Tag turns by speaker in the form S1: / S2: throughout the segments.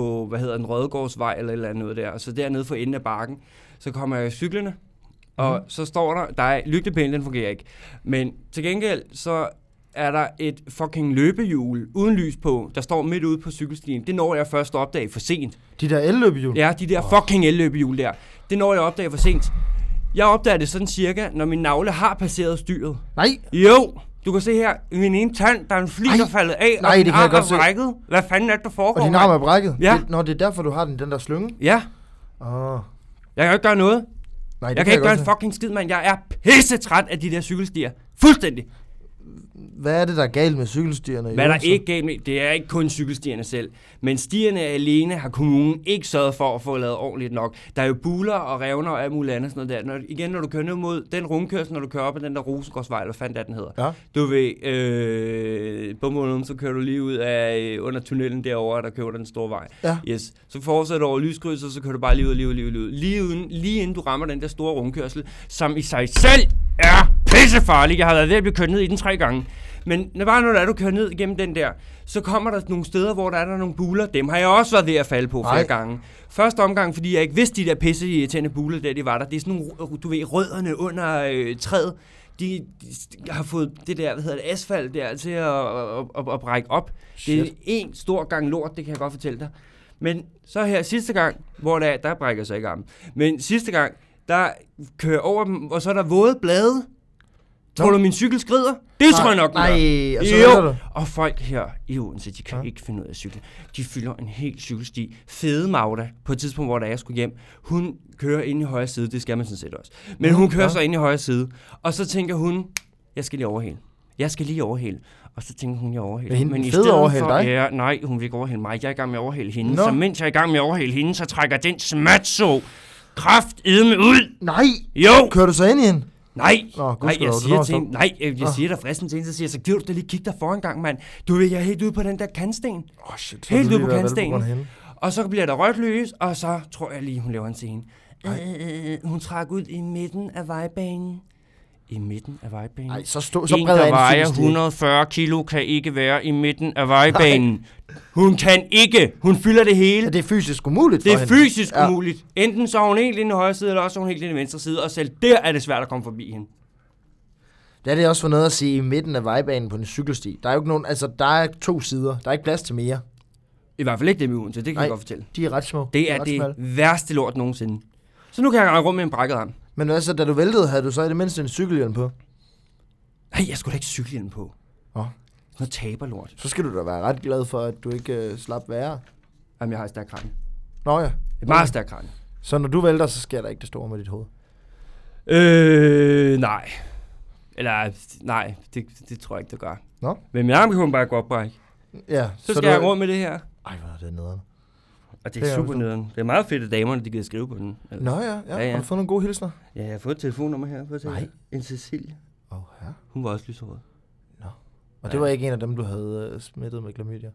S1: på, hvad hedder den, Rødegårdsvej eller et eller andet der. Så dernede for enden af bakken, så kommer jeg cyklerne, og
S2: Mhm.
S1: så står der, der er, lygtepælen den fungerer ikke. Men til gengæld, så er der et fucking løbehjul uden lys på, der står midt ude på cykelstien. Det når jeg først at opdage for sent.
S2: De der elløbehjul.
S1: Ja, de der fucking elløbehjul der. Det når jeg opdager for sent. Jeg opdager det sådan cirka, når min navle har passeret styret.
S2: Nej,
S1: Jo, du kan se her, min ene tand, der er en flis,
S2: Ej.
S1: der er faldet af,
S2: Nej,
S1: og
S2: det
S1: min
S2: kan jeg
S1: arm
S2: godt se.
S1: er brækket. Hvad fanden er det, der
S2: og
S1: foregår?
S2: din
S1: mand?
S2: arm er brækket.
S1: Ja.
S2: Det, nå, det er derfor, du har den, den der slynge.
S1: Ja,
S2: Åh.
S1: jeg kan jo ikke gøre noget.
S2: Nej,
S1: Jeg kan ikke gøre en fucking skid, mand. Jeg er pisse træt af de der cykelstier. Fuldstændig.
S2: Hvad er det, der er galt med cykelstierne? i
S1: Hvad der
S2: Odense?
S1: ikke gav med, det er ikke kun cykelstierne selv, men stierne alene har kommunen ikke sørget for at få lavet ordentligt nok. Der er jo buler og revner og alt muligt andet sådan noget der. Når, igen, når du kører ned mod den rundkørsel, når du kører op ad den der Rosengårdsvej, eller hvad fanden er, den hedder.
S2: Ja.
S1: Du ved, øh, på måneden, så kører du lige ud af øh, under tunnelen derovre, der kører under den store vej.
S2: Ja.
S1: Yes. Så fortsætter du over lyskrydset, så kører du bare lige ud, lige ud, lige ud, lige ud. Lige, uden, lige inden du rammer den der store rundkørsel, som i sig selv er pissefarlig. Jeg har været ved at blive kørt ned i den tre gange. Men når bare når der er, du kører ned igennem den der, så kommer der nogle steder, hvor der er der nogle buler. Dem har jeg også været ved at falde på flere
S2: Nej.
S1: gange gange. Første omgang, fordi jeg ikke vidste, de der pisse irriterende buler, der de var der. Det er sådan nogle, ru- du ved, rødderne under øh, træet. De, de, har fået det der, hvad hedder det, asfalt der til at, at, at, at brække op. Shit. Det er
S2: Shit.
S1: en stor gang lort, det kan jeg godt fortælle dig. Men så her sidste gang, hvor der, der brækker sig ikke armen. Men sidste gang, der kører jeg over dem, og så er der våde blade. Tror
S2: Nå.
S1: du, min cykel skrider? Det nej, tror jeg nok, den
S2: Nej,
S1: gør.
S2: og så vælter du.
S1: Og folk her i Odense, de kan ja. ikke finde ud af at cykle. De fylder en hel cykelsti. Fede Magda, på et tidspunkt, hvor der jeg skulle hjem, hun kører ind i højre side. Det skal man sådan set også. Men hun kører
S2: ja.
S1: ja. så ind i højre side. Og så tænker hun, jeg skal lige overhale. Jeg skal lige overhale. Og så tænker hun, jeg overhaler.
S2: Vil hende den fede overhale dig?
S1: Ja, nej, hun vil ikke overhale mig. Jeg er i gang med at overhale hende.
S2: Nå.
S1: Nå. Så mens jeg er i gang med at overhale hende, så trækker den smatso kraft ud.
S2: Nej,
S1: Jo!
S2: kører du så ind i hende?
S1: Nej,
S2: Nå,
S1: Nå, nej,
S2: gudskelov,
S1: jeg
S2: du når
S1: siger
S2: at
S1: til
S2: stå-
S1: hende, nej, øh, jeg, jeg
S2: Ah.
S1: siger der fristen til hende, så siger jeg, så giver du da lige kigge dig foran gang, mand. Du ved, jeg er helt ude på den der kantsten.
S2: Åh, oh, shit.
S1: Helt
S2: har du
S1: ude på
S2: lige været
S1: kantstenen.
S2: vel på grund af hende.
S1: Og så bliver der rødt lys, og så tror jeg lige, hun laver en scene. Øh, hun trak ud i midten af vejbanen. I midten af vejbanen.
S2: Ej, så, stå, så
S1: en,
S2: breder
S1: der
S2: jeg en
S1: vejer
S2: cykelsti.
S1: 140 kilo, kan ikke være i midten af vejbanen. Hun kan ikke. Hun fylder det hele.
S2: Ja, det er fysisk umuligt
S1: Det er
S2: for hende.
S1: fysisk
S2: Ja.
S1: ja. umuligt. Enten så er hun helt inde i højre side, eller også er hun helt inde i venstre side. Og selv der er det svært at komme forbi hende.
S2: Der er det også for noget at sige i midten af vejbanen på en cykelsti. Der er jo ikke nogen, altså der er to sider. Der er ikke plads til mere.
S1: I hvert fald ikke dem i Odense, det kan
S2: Nej.
S1: jeg godt fortælle.
S2: De er ret små. De
S1: Det er
S2: ret
S1: det
S2: smalle.
S1: værste lort nogensinde. Så nu kan jeg rende rundt med en brækket arm.
S2: Men hvad så, da du væltede, havde du så i det mindste en cykelhjelm på?
S1: Nej, jeg skulle da ikke cykelhjelm på.
S2: Nå.
S1: Nå, taber lort.
S2: Så skal du da være ret glad for, at du ikke øh, slap værre.
S1: Jamen, jeg har et stærkt kran.
S2: Nå ja.
S1: Et meget stærkt kran.
S2: Så når du vælter, så sker der ikke det store med dit hoved.
S1: Øh, nej. Eller, nej, det, det tror jeg ikke, det gør.
S2: Nå.
S1: Men min arm kan kun bare gå opbrække.
S2: Ja,
S1: Så, så skal jeg rundt med det her.
S2: Ej, hvor er det nederen.
S1: Og det
S2: Det
S1: er
S2: er
S1: super
S2: også-
S1: nederen. Det er meget fedt, at damerne, de gider skrive på den. Eller-
S2: Nå ja, ja.
S1: Ja, ja.
S2: Har du fået nogle gode hilsner?
S1: Ja, jeg har fået et telefonnummer her. På
S2: Nej.
S1: En Cecilie.
S2: Åh, oh, ja.
S1: Hun var også lyshåret.
S2: Og det var ikke en af dem, du havde øh, smittet med klamydia.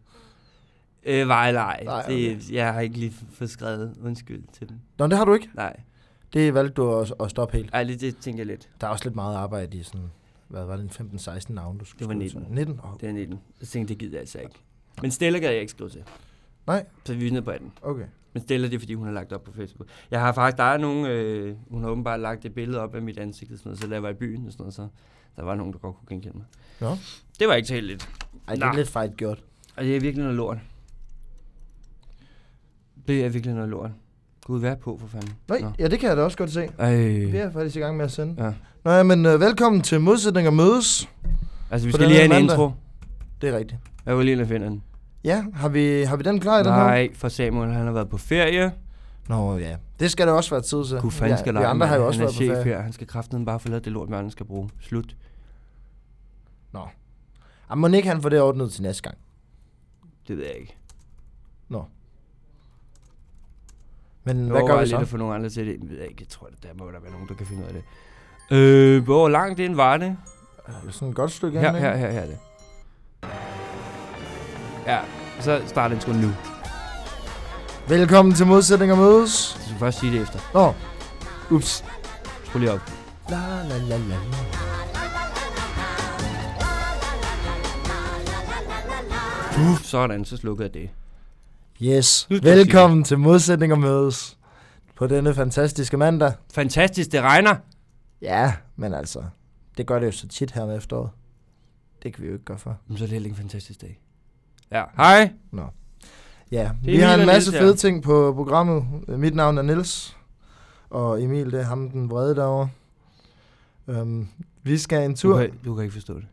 S1: Øh, var nej.
S2: Nej,
S1: nej
S2: okay.
S1: det, jeg har ikke lige fået skrevet undskyld til dem.
S2: Nå, det har du ikke.
S1: Nej.
S2: Det valgte du at, at stoppe helt.
S1: Ej, det, det tænker jeg lidt.
S2: Der er også lidt meget arbejde i sådan, hvad var det, en 15-16 navn, du skulle
S1: Det var
S2: skrive til?
S1: 19.
S2: 19? Oh,
S1: Det er 19. Jeg tænkte, det gider jeg altså ikke. Men Stella gad jeg ikke skrive til.
S2: Nej.
S1: Så vi er nede på 18.
S2: okay.
S1: Men Stella, det er fordi, hun har lagt op på Facebook. Jeg har faktisk, der er nogen, øh, hun har åbenbart lagt et billede op af mit ansigt og sådan noget, så da jeg var i byen og sådan noget, så der var nogen, der godt kunne genkende mig.
S2: Nå.
S1: Det var ikke så heldigt.
S2: Ej, det er
S1: Nå.
S2: lidt fejt gjort.
S1: Og det er virkelig noget lort. Det er virkelig noget lort. Gud, vær på for fanden.
S2: Nej,
S1: Nå.
S2: ja, det kan jeg da også godt se. Vi
S1: Ej.
S2: er faktisk i gang med at sende.
S1: Ja.
S2: Nå ja, men øh, velkommen til Modsætning og Mødes.
S1: Altså, vi
S2: På
S1: skal lige
S2: den her
S1: have en
S2: mandag.
S1: intro.
S2: Det er rigtigt.
S1: Jeg vil lige lade finde den.
S2: Ja, har vi, har vi den klar i den her?
S1: Nej, for Samuel, han har været på ferie.
S2: Nå ja, det skal der også være tid til.
S1: Gud fanden skal
S2: ja,
S1: lege,
S2: vi andre
S1: mand.
S2: har jo også
S1: han
S2: været på
S1: er chef
S2: ferie.
S1: her. Han skal kraftedeme bare få lavet det lort, man skal bruge. Slut.
S2: Ah, må ikke han får det ordnet til næste gang?
S1: Det ved jeg ikke.
S2: Men
S1: Jeg
S2: hvad gør
S1: overvejer
S2: vi
S1: lidt at
S2: så?
S1: få nogle andre til det. Jeg ved jeg ikke. Jeg tror, der må der være nogen, der kan finde ud af det. Øh, hvor langt ind var det?
S2: Øh, Sådan et godt stykke
S1: Her,
S2: hen,
S1: her,
S2: ikke?
S1: her, her er det. Ja, så start den sgu nu.
S2: Velkommen til Modsætning og Mødes.
S1: Du skal først sige det efter.
S2: Nå, ups.
S1: Skru lige op.
S2: La, la, la, la, la.
S1: Uff, sådan, så slukkede jeg det.
S2: Yes.
S1: Nu skal jeg
S2: Velkommen til Modsætninger Mødes på denne fantastiske mandag.
S1: Fantastisk, det regner.
S2: Ja, men altså, det gør det jo så tit her om efteråret. Det kan vi jo ikke gøre for.
S1: Men så er det heller ikke en fantastisk dag. Ja, hej.
S2: Ja,
S1: Det er
S2: vi har
S1: Emil
S2: en
S1: og
S2: masse
S1: Niels, ja.
S2: fede ting på programmet. Øh, Mit navn er Niels og Emil, det er ham den vrede derovre. Øhm, vi skal en tur.
S1: Du kan, du kan ikke forstå det.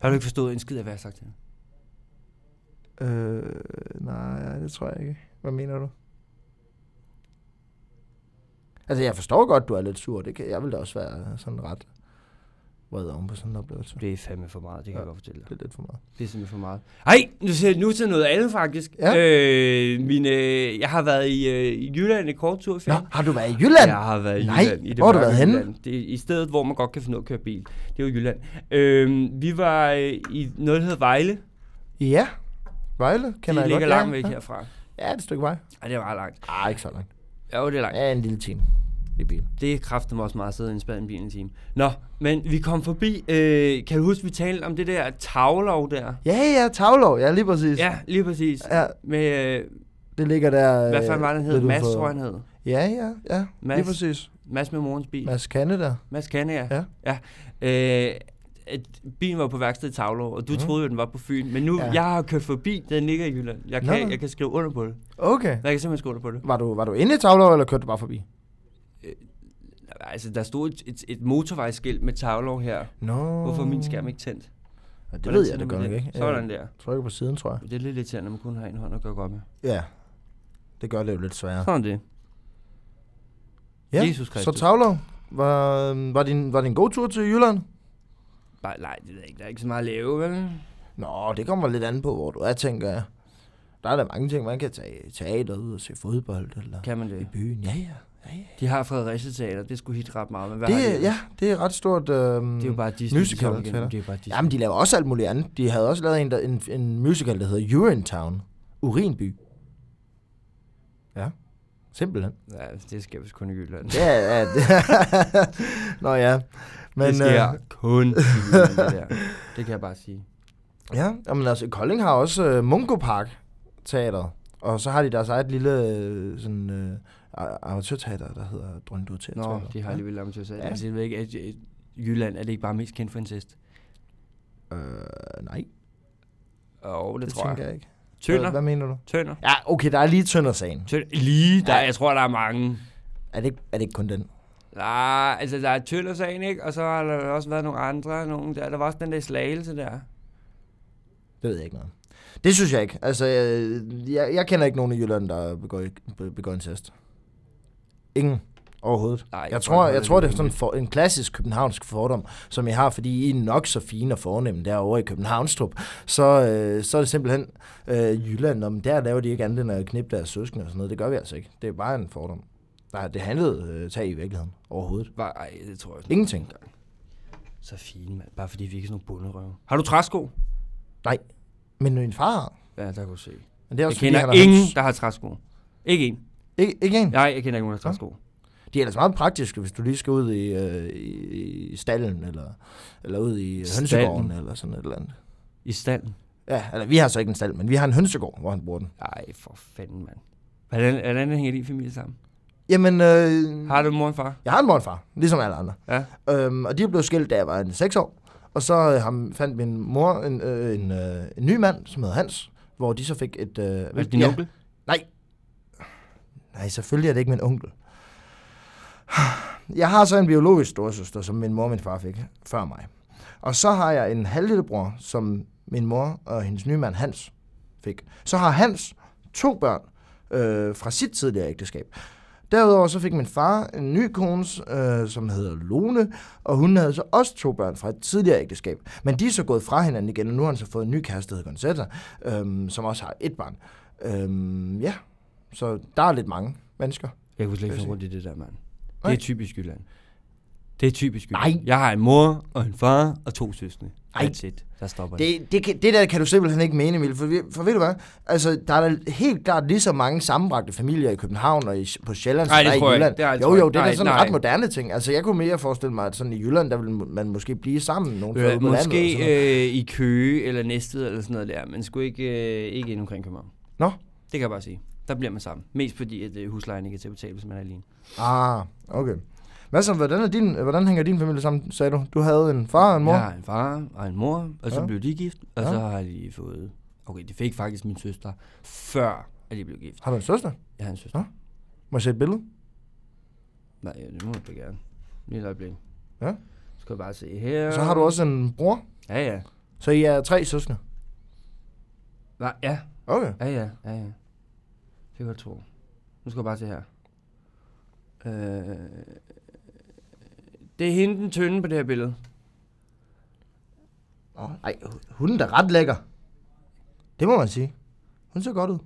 S1: Har du ikke forstået en skid af, hvad jeg har sagt til dig?
S2: Øh, nej, det tror jeg ikke. Hvad mener du? Altså, jeg forstår godt, du er lidt sur. Det kan, jeg vil da også være sådan ret vred oven på sådan en oplevelse.
S1: Det er fandme for meget, det kan ja.
S2: Ja.
S1: jeg godt fortælle dig.
S2: Det er lidt for meget.
S1: Det er simpelthen Ligesom for meget. Ej, nu ser jeg nu til noget andet faktisk.
S2: Ja.
S1: Øh, min, øh, jeg har været i, øh, i Jylland i kort tur i
S2: Nå,
S1: ferien.
S2: har du været i Jylland?
S1: Jeg har været i
S2: Nej,
S1: Jylland. I det
S2: hvor har du
S1: mørke
S2: været henne?
S1: Jylland. Det er i stedet, hvor man godt kan finde ud af at køre bil. Det er jo Jylland. Øhm, vi var øh, i noget, der hedder Vejle.
S2: Ja. Vejle kender
S1: det ligger
S2: jeg godt.
S1: langt
S2: ja.
S1: væk
S2: ja.
S1: herfra.
S2: Ja, det er et stykke vej.
S1: Ej, det er meget langt.
S2: Ah, ikke så langt.
S1: Ja, jo, det er langt.
S2: Ja, en lille time i bil.
S1: Det kræfter mig også meget at sidde i en spand i bilen en time. Nå, men vi kom forbi. Øh, kan du huske, vi talte om det der tavlov der?
S2: Ja, ja, Tavlov. Ja, lige præcis.
S1: Ja, lige præcis.
S2: ja
S1: Med, øh,
S2: det ligger der... øh,
S1: hvad fanden var den hed?
S2: lidt
S1: Mads,
S2: udenfor.
S1: tror jeg, han hed.
S2: Ja, ja, ja. Mads.
S1: Mads.
S2: Lige præcis.
S1: Mads med morens bil.
S2: Mads Canada.
S1: Mads Kanne, ja.
S2: Ja.
S1: ja. Øh, at bilen var på værksted i Tavlo, og du
S2: Mhm.
S1: mm. troede jo, den var på Fyn. Men nu,
S2: Ja.
S1: ja. jeg har kørt forbi, den ligger i Jylland. Jeg
S2: Nå, nå.
S1: kan, jeg kan skrive under på det.
S2: Okay.
S1: Jeg kan simpelthen skrive under på det.
S2: Var du, var du inde i Tavlov, eller kørte du bare forbi?
S1: Altså, der stod et, et, et motorvejsskilt med Tavlo her.
S2: Nå.
S1: Hvorfor er min skærm ikke tændt?
S2: Ja, det
S1: Hvordan
S2: ved
S1: tænder
S2: jeg, det
S1: man
S2: gør nok ikke. Øh.
S1: Sådan der.
S2: Jeg trykker på siden, tror jeg.
S1: Det er lidt irriterende, at man kun har en hånd at gøre godt med.
S2: Ja. Det gør det jo lidt sværere.
S1: Sådan det.
S2: Ja.
S1: Jesus
S2: Så
S1: Kristus.
S2: Tavlov, var, var, din, var din god tur til Jylland?
S1: Bare, nej, det ved jeg ikke. Der er ikke så meget at lave, vel?
S2: Nå, det kommer lidt an på, hvor du er, tænker jeg. Der er der mange ting, man kan tage i teateret ud og se fodbold, eller
S1: Kan man
S2: i
S1: det?
S2: byen. Ja, ja.
S1: De har Fredericia Teater. Det skulle hit ret meget. Men hvad har de?
S2: Det, ja, det er ret stort... Øhm,
S1: Det er jo bare Disney.
S2: musical
S1: så igen.
S2: teater.
S1: Det er bare Disney.
S2: Jamen, de laver også alt muligt andet. De havde også lavet en, der, en, en musical, der hedder Urinetown. Urinby. Ja. Simpelthen.
S1: Ja, det sker vist kun i Jylland.
S2: Ja, ja. Nå ja. Men,
S1: det sker
S2: øh,
S1: øh... kun i Jylland, det der. Det kan jeg bare sige.
S2: Ja, jamen altså, Kolding har også øh, Mungo Park Teateret, og så har de deres eget lille øh, sådan, øh, a- amatørteater, der hedder Drøndur Teater.
S1: Nå, de har alligevel lavet til sig.
S2: Ja.
S1: Altså, jeg ved ikke, at øh, Jylland er det ikke bare mest kendt for incest?
S2: Øh, nej, det,
S1: Åh, oh, det,
S2: det
S1: tror jeg.
S2: tænker jeg ikke. Hvad,
S1: Tønder?
S2: hvad mener du?
S1: Tønder?
S2: Ja, okay, der er lige Tøndersagen.
S1: Tønder? Lige der,
S2: Ja.
S1: jeg tror, der er mange.
S2: Er det, ikke- er det ikke kun den?
S1: Nej, altså der er Tønder-sagen, ikke? Og så har der også været nogle andre, nogle der. Der var også den der i slagelse der.
S2: Det ved jeg ikke noget om. Det synes jeg ikke. Altså, øh, jeg, jeg kender ikke nogen i Jylland, der begår, be- begår incest. Ingen. Overhovedet.
S1: Nej,
S2: Jeg tror,
S1: ikke,
S2: jeg tror, det er
S1: lidt
S2: sådan for, en klassisk københavnsk fordom, som I har, fordi I er nok så fine og fornemme derovre i Københavnstrup. Så, øh, så er det simpelthen øh, Jylland, om der laver de ikke andet end at knippe deres søskende og sådan noget. Det gør vi altså ikke. Det er bare en fordom. Nej, det handlede øh, tag i virkeligheden overhovedet.
S1: Var, ej, det tror jeg ikke.
S2: Ingenting.
S1: Så fint, mand. Bare fordi vi ikke er sådan nogle bunderøve. Har du træsko?
S2: Men min far,
S1: Ja, der kan du se. Jeg
S2: men det er også fordi,
S1: kender
S2: han har
S1: ingen,
S2: høns.
S1: der har træsko. Ikke en.
S2: Ikke, ikke en.
S1: Nej, jeg kender ikke nogen, der har træsko.
S2: De er ellers meget praktiske, hvis du lige skal ud i, øh, i, i stallen, eller, eller ud i
S1: Stalden.
S2: hønsegården, eller sådan et eller andet.
S1: I stallen.
S2: Ja, eller vi har så ikke en stald, men vi har en hønsegård, hvor han bruger den.
S1: Ej, for fanden, mand. Hvordan, hvordan hænger din familie sammen?
S2: Jamen, øh,
S1: Har du en mor og en far?
S2: jeg har en mor og en far, ligesom alle andre.
S1: Ja.
S2: Øhm, og de er blevet skilt, da jeg var en 6 år. Og så øh, ham, fandt min mor en, øh, en, øh, en ny mand, som hedder Hans, hvor de så fik et... Øh,
S1: Er det din
S2: ja.
S1: onkel?
S2: Nej, selvfølgelig er det ikke min onkel. Jeg har så en biologisk storsøster, som min mor og min far fik før mig. Og så har jeg en halvlillebror, som min mor og hendes nye mand Hans fik. Så har Hans to børn øh, fra sit tidligere ægteskab. Derudover så fik min far en ny kone, øh, som hedder Lone, og hun havde så også to børn fra et tidligere ægteskab. Men de er så gået fra hinanden igen, og nu har han så fået en ny kæreste, der hedder Gonzetta, øh, som også har et barn. Øh, ja, så der er lidt mange mennesker.
S1: Jeg kunne slet ikke
S2: Hvad
S1: finde rundt i det der, mand. Det
S2: Nej.
S1: er typisk Jylland. Det er typisk
S2: Nej.
S1: Jylland. Jeg har en mor og en far og to søskende.
S2: Nej.
S1: That's it. Der stopper det.
S2: Det, det, kan- det der kan du simpelthen ikke mene, Emil, for, vi- for ved du hvad? Altså, der er da helt klart lige så mange sammenbragte familier i København og i, på Sjælland,
S1: Nej, det
S2: som der er
S1: tror
S2: i
S1: jeg ikke.
S2: Jylland.
S1: Det er jeg
S2: jo,
S1: tror
S2: jo,
S1: ikke.
S2: det er da
S1: Nej,
S2: sådan en
S1: nej.
S2: ret moderne ting. Altså, jeg kunne mere forestille mig, at sådan i Jylland, der ville man måske blive sammen nogle steder
S1: Øh,
S2: på landet. og sådan noget.
S1: måske øh, i Køge eller Næstved eller sådan noget der, men sgu ikke, øh, ikke ind omkring København.
S2: Nå,
S1: Det kan jeg bare sige. Der bliver man sammen. Mest fordi, at øh, huslejen ikke er til at betale, hvis man er alene.
S2: Ah, okay. Hvad så, hvordan, er din, hvordan hænger din familie sammen, sagde du? Du havde en far og en mor?
S1: Jeg har en far og en mor, og så
S2: Ja.
S1: ja. blev de gift, og
S2: Ja.
S1: ja. så har de fået... Okay, de fik faktisk min søster, før at de blev gift.
S2: Har du en søster?
S1: Jeg har en søster.
S2: Ja. Må jeg se et billede?
S1: Nej, ja, det må jeg da gerne. Lige et øjeblik.
S2: Ja.
S1: Så skal jeg bare se her.
S2: Så har du også en bror?
S1: Ja, ja.
S2: Så I er tre søskende?
S1: Nej, ja.
S2: Okay.
S1: Ja, ja, ja, ja. Det kan jeg godt tro. Nu skal jeg bare se her. Øh, det er hende den tynde på det her billede.
S2: Åh, Ej, hun er da ret lækker. Det må man sige. Hun ser godt ud.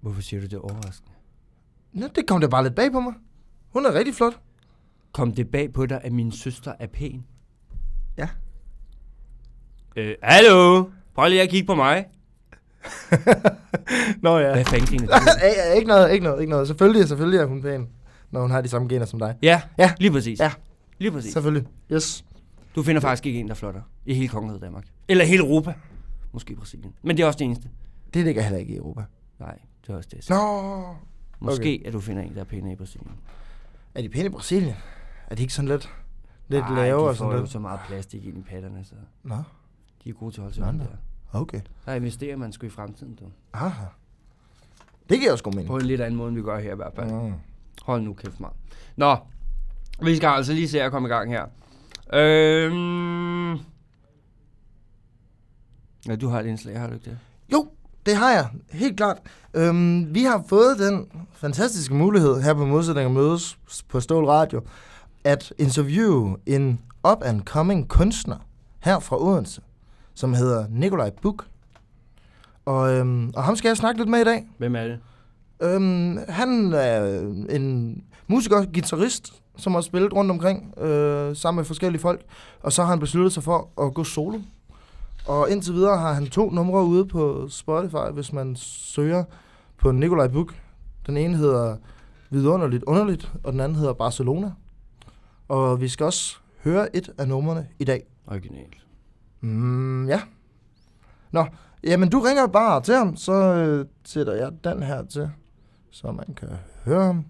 S1: Hvorfor siger du det overraskende?
S2: Nå, det kom da bare lidt bag på mig. Hun er rigtig flot.
S1: Kom det bag på dig, at min søster er pæn?
S2: Ja.
S1: Øh, hallo? Prøv lige at kigge på mig.
S2: Nå ja.
S1: Hvad fanden griner du?
S2: Ej, ej, ikke noget, ikke noget, ikke noget. Selvfølgelig, selvfølgelig er hun pæn, når hun har de samme gener som dig.
S1: Ja,
S2: Ja.
S1: ja, lige præcis.
S2: Ja.
S1: Lige præcis.
S2: Selvfølgelig. Yes.
S1: Du finder faktisk ikke en, der flotter i hele kongeriget Danmark. Eller hele Europa. Måske Brasilien. Men det er også det eneste.
S2: Det ligger heller ikke i Europa.
S1: Nej, det er også det.
S2: Nå.
S1: Måske at du finder en, der er pænere i Brasilien.
S2: Er de pæne i Brasilien? Er de ikke sådan lidt, lidt
S1: Ej,
S2: lave og
S1: de får
S2: sådan
S1: jo
S2: lidt?
S1: så meget plastik ind i patterne, så
S2: Nå,
S1: de er gode til at holde sig om
S2: Nå, nå.
S1: der.
S2: okay.
S1: Der investerer man sgu i fremtiden, du.
S2: Aha. Det giver også god mening.
S1: På en lidt anden måde, end vi gør her i hvert fald.
S2: Mm.
S1: Hold nu kæft, mand. Nå, vi skal altså lige se at komme i gang her. Øhm... Ja, du har et indslag, har du ikke det?
S2: Jo, det har jeg. Helt klart. Øhm, vi har fået den fantastiske mulighed her på Modsætning at mødes på Stål Radio, at interviewe en up-and-coming kunstner her fra Odense, som hedder Nikolaj Buk. Og, øhm, og ham skal jeg snakke lidt med i dag.
S1: Hvem er det?
S2: Øhm, han er en musiker, guitarist, som har spillet rundt omkring øh, sammen med forskellige folk. Og så har han besluttet sig for at gå solo. Og indtil videre har han to numre ude på Spotify, hvis man søger på Nikolaj Buk. Den ene hedder Vidunderligt Underligt, og den anden hedder Barcelona. Og vi skal også høre et af numrene i dag.
S1: Originalt.
S2: Mm, ja. Nå, jamen du ringer bare til ham, så øh, sætter jeg den her til, så man kan høre ham.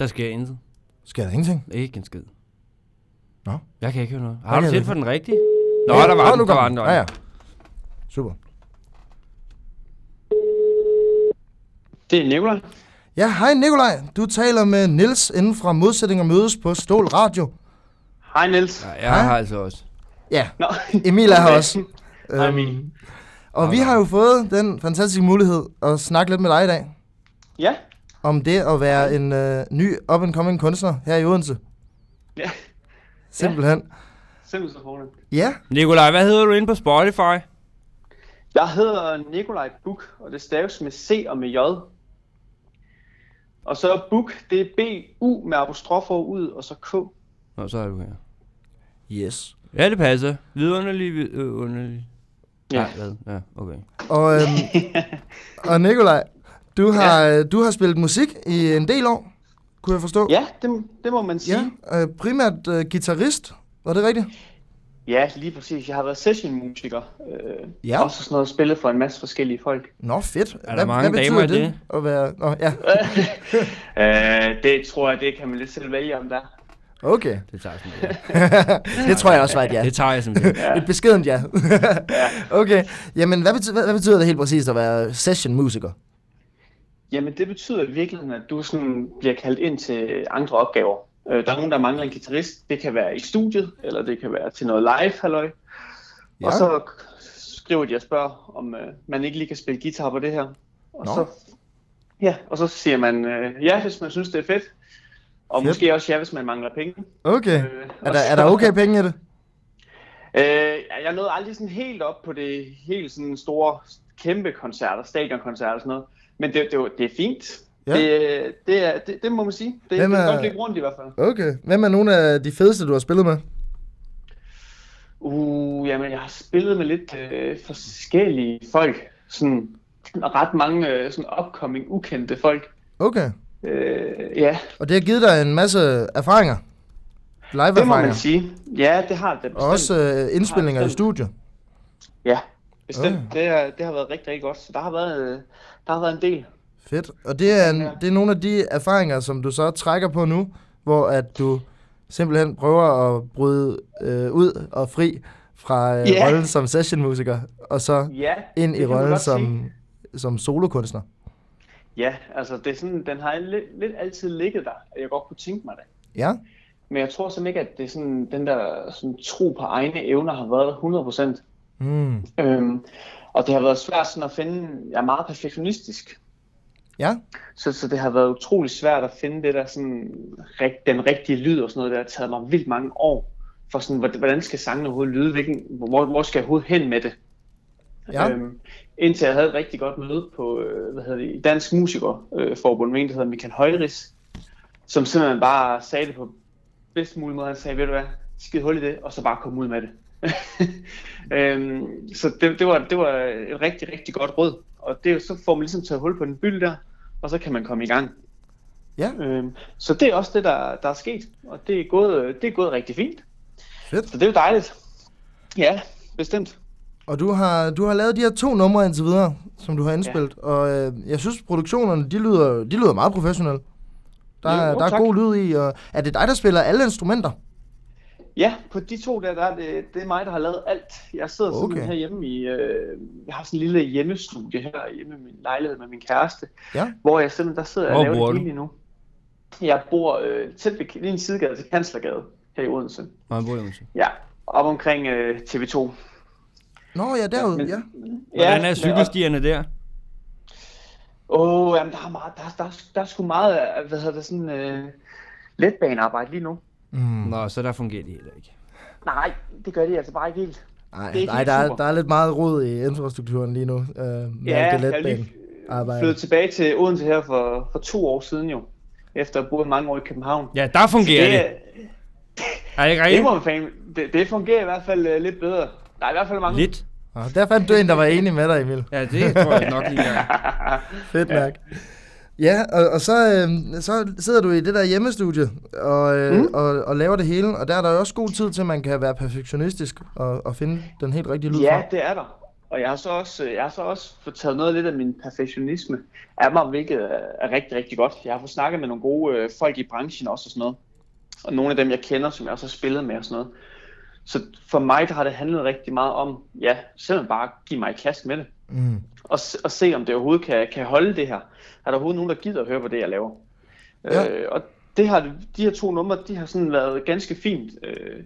S1: Der sker intet.
S2: Sker der ingenting?
S1: Ikke en skid.
S2: Nå.
S1: Jeg kan ikke høre noget. Har
S2: kan
S1: du
S2: jeg
S1: tændt
S2: ikke.
S1: for den rigtige? Nå, der var den, der var den. der var
S2: Ja,
S1: den.
S2: ja. Super.
S3: Det er Nicolaj.
S2: Ja, hej Nikolaj. Du taler med Nils inden fra Modsætninger Mødes på Stål Radio.
S3: Hej Niels.
S1: Ja,
S3: Ja.
S1: jeg har altså også.
S2: Ja,
S3: Nå.
S2: Emil er her også.
S3: Hej
S2: Øhm,
S3: Emil.
S2: og vi har jo fået den fantastiske mulighed at snakke lidt med dig i dag.
S3: Ja.
S2: Om det at være en øh, ny up-and-coming kunstner her i Odense.
S3: Ja.
S2: Simpelthen.
S3: Simpelthen så fornemt.
S2: Ja,
S1: Nikolaj, hvad hedder du inde på Spotify?
S3: Jeg hedder Nikolaj Buk, og det staves med C og med J. Og så Buk, det er B-U med apostrof ud, og så K.
S1: Nå, så er du her.
S2: yes.
S1: Ja, det passer. Vidunderlig, vidunderlig.
S3: Ja.
S1: Nej, hvad? Ja, okay.
S2: Og, øhm, og Nikolaj, du har, ja. du har spillet musik i en del år, kunne jeg forstå.
S3: Ja, det, det må man sige.
S2: ja øh, primært øh, guitarist, var det rigtigt?
S3: ja, lige præcis. Jeg har været sessionmusiker. Øh,
S2: Ja.
S3: Også sådan noget spillet for en masse forskellige folk.
S2: Nå, fedt.
S1: der mange
S2: betyder
S1: damer i det?
S2: At være... Nå, ja,
S3: Øh, det tror jeg, det kan man lidt selv vælge om der.
S2: okay.
S1: Det tager jeg som det. er.
S2: det tror jeg også var et ja.
S1: Det tager jeg som det. er.
S2: Et beskedent ja. okay. Jamen, hvad betyder, hvad, hvad betyder det helt præcist at være sessionmusiker?
S3: Jamen, det betyder i virkeligheden, at du sådan bliver kaldt ind til andre opgaver. Øh, Der er nogen, der mangler en guitarist. Det kan være i studiet, eller det kan være til noget live, halløj. Ja.
S2: Ja.
S3: Og så skriver de og spørger, om øh, man ikke lige kan spille guitar på det her. Og,
S2: Nå.
S3: så, ja, og så siger man øh, ja, hvis man synes, det er fedt.
S2: Fedt.
S3: Og fedt. måske også ja, hvis man mangler penge.
S2: Okay.
S3: Øh,
S2: Er der, er der okay penge i det?
S3: Øh, jeg nåede aldrig sådan helt op på det helt sådan store, kæmpe koncerter, stadionkoncerter og sådan noget. Men det, det, var- det er fint.
S2: Ja.
S3: Ja. Det, øh, det, er, det, det, må man sige. Det,
S2: Hvem
S3: det
S2: er-
S3: kan godt ligge rundt i hvert fald.
S2: Okay. Hvem er nogle af de fedeste, du har spillet med?
S3: Uh, jamen, jeg har spillet med lidt øh, forskellige folk. Sådan ret mange øh, sådan upcoming, ukendte folk.
S2: Okay.
S3: Øh, ja,
S2: Og det har givet dig en masse erfaringer. Live-erfaringer.
S3: det må man sige. Ja, det har det bestemt.
S2: Og også øh, indspillinger i
S3: Bestemt.
S2: studiet.
S3: Ja, Bestemt.
S2: Okay.
S3: Okay. Det, er, det har været rigtig, rigtig godt. Så der har været, øh, der har været en del.
S2: Fedt. Og det er, en,
S3: Ja.
S2: det er nogle af de erfaringer, som du så trækker på nu, hvor at du simpelthen prøver at bryde øh, ud og fri fra øh,
S3: Ja.
S2: yeah. rollen som sessionmusiker, og så
S3: Ja,
S2: ind
S3: det
S2: i
S3: kan man
S2: rollen
S3: godt
S2: som, som solokunstner.
S3: Ja, altså det er sådan, den har lidt, lidt altid ligget der, at jeg godt kunne tænke mig det.
S2: Ja,
S3: Men jeg tror simpelthen ikke, at det er sådan, den der sådan, tro på egne evner har været 100%.
S2: mm.
S3: Øhm, og det har været svært sådan at finde, jeg er meget perfektionistisk,
S2: ja,
S3: så, så det har været utrolig svært at finde det der sådan, rigt, den rigtige lyd og sådan noget, det har taget mig vildt mange år, for sådan, hvordan- hvordan skal sangen overhovedet lyde, hvilken, hvor, hvor skal jeg overhovedet hen med det?
S2: Ja.
S3: Øhm, indtil jeg havde et rigtig godt møde på, øh, hvad hedder det, Dansk Musikerforbund, med en, der hedder Michael Højris, som simpelthen bare sagde det på bedst mulig måde. Han sagde, ved du hvad, skid hul i det, og så bare kom ud med det. øhm, så det, det, var, det var et rigtig, rigtig godt råd. Og det, er jo- så får man ligesom taget hul på den byld der, og så kan man komme i gang.
S2: Ja.
S3: Øhm, så det er også det, der, der er sket, og det er gået, det er gået rigtig fint.
S2: fedt.
S3: Så det er jo dejligt. Ja, bestemt.
S2: Og du har, du har lavet de her to numre indtil videre, som du har indspillet, ja. og øh, jeg synes, produktionerne, de lyder, de lyder meget professionelle. Der,
S3: Jo,
S2: er-
S3: jo,
S2: der er
S3: tak.
S2: god lyd i, og er det dig, der spiller alle instrumenter?
S3: Ja, på de to der, der er det, det er mig, der har lavet alt. Jeg sidder okay.
S2: Okay.
S3: simpelthen herhjemme i... Øh, jeg har sådan en lille hjemmestudie her hjemme i min lejlighed med min kæreste,
S2: Ja.
S3: hvor jeg simpelthen der sidder og
S1: Hvor
S3: laver
S1: bor du?
S3: det hele lige nu. Jeg bor øh, tæt ved lige en sidegade til Kanslergade her i Odense.
S1: Nej, hvor er det, undskyld.
S3: Ja, op omkring øh, TV2.
S2: Nå ja, derude,
S3: men-
S2: ja.
S1: Hvordan
S3: men-
S1: er
S3: og-
S1: cykelstierne der?
S3: Åh, oh, jamen, der er meget, der, er- der, er- der er sgu meget, af, hvad hedder det, sådan øh, letbanearbejde lige nu.
S2: Mm.
S1: Nå, så der fungerer det heller ikke.
S3: Nej, det gør det altså bare ikke helt.
S2: Nej,
S3: Det er ikke
S2: nej
S3: helt
S2: der, er,
S3: super.
S2: der er lidt meget rod i infrastrukturen lige nu. Øh, med
S3: Ja,
S2: alt det
S3: jeg er lige
S2: letbane arbejde.
S3: flyttet tilbage til Odense her for, for to år siden jo, efter at have boet mange år i København.
S1: Ja, der fungerer det.
S3: det,
S1: Er det ikke
S3: det,
S1: rigtigt?
S3: må man fandme, det, det fungerer i hvert fald øh, lidt bedre. Der er i hvert fald mange.
S1: Lidt.
S2: Nå, der fandt du en, der var enig med dig, Emil.
S1: Ja, det tror jeg nok lige er.
S2: Fedt nok. Ja, og, og så, øh, så sidder du i det der hjemmestudie og, øh, mm. og, og laver det hele, og der er der jo også god tid til, at man kan være perfektionistisk og, og finde den helt rigtige lyd
S3: Ja,
S2: fra.
S3: det er der. Og jeg har så også, øh, jeg har så også fået taget noget lidt af min perfektionisme af mig, hvilket er er rigtig, rigtig godt. Jeg har fået snakket med nogle gode øh, folk i branchen også og sådan noget. Og nogle af dem, jeg kender, som jeg også har spillet med og sådan noget. Så for mig, der har det handlet rigtig meget om, ja, simpelthen bare give mig i kast med det.
S2: Mm.
S3: og, se- og se, om det overhovedet kan, kan holde det her. Er der overhovedet nogen, der gider at høre på det, jeg laver?
S2: Ja.
S3: Ja. Øh, og det har, de her to numre, de har sådan været ganske fint, øh,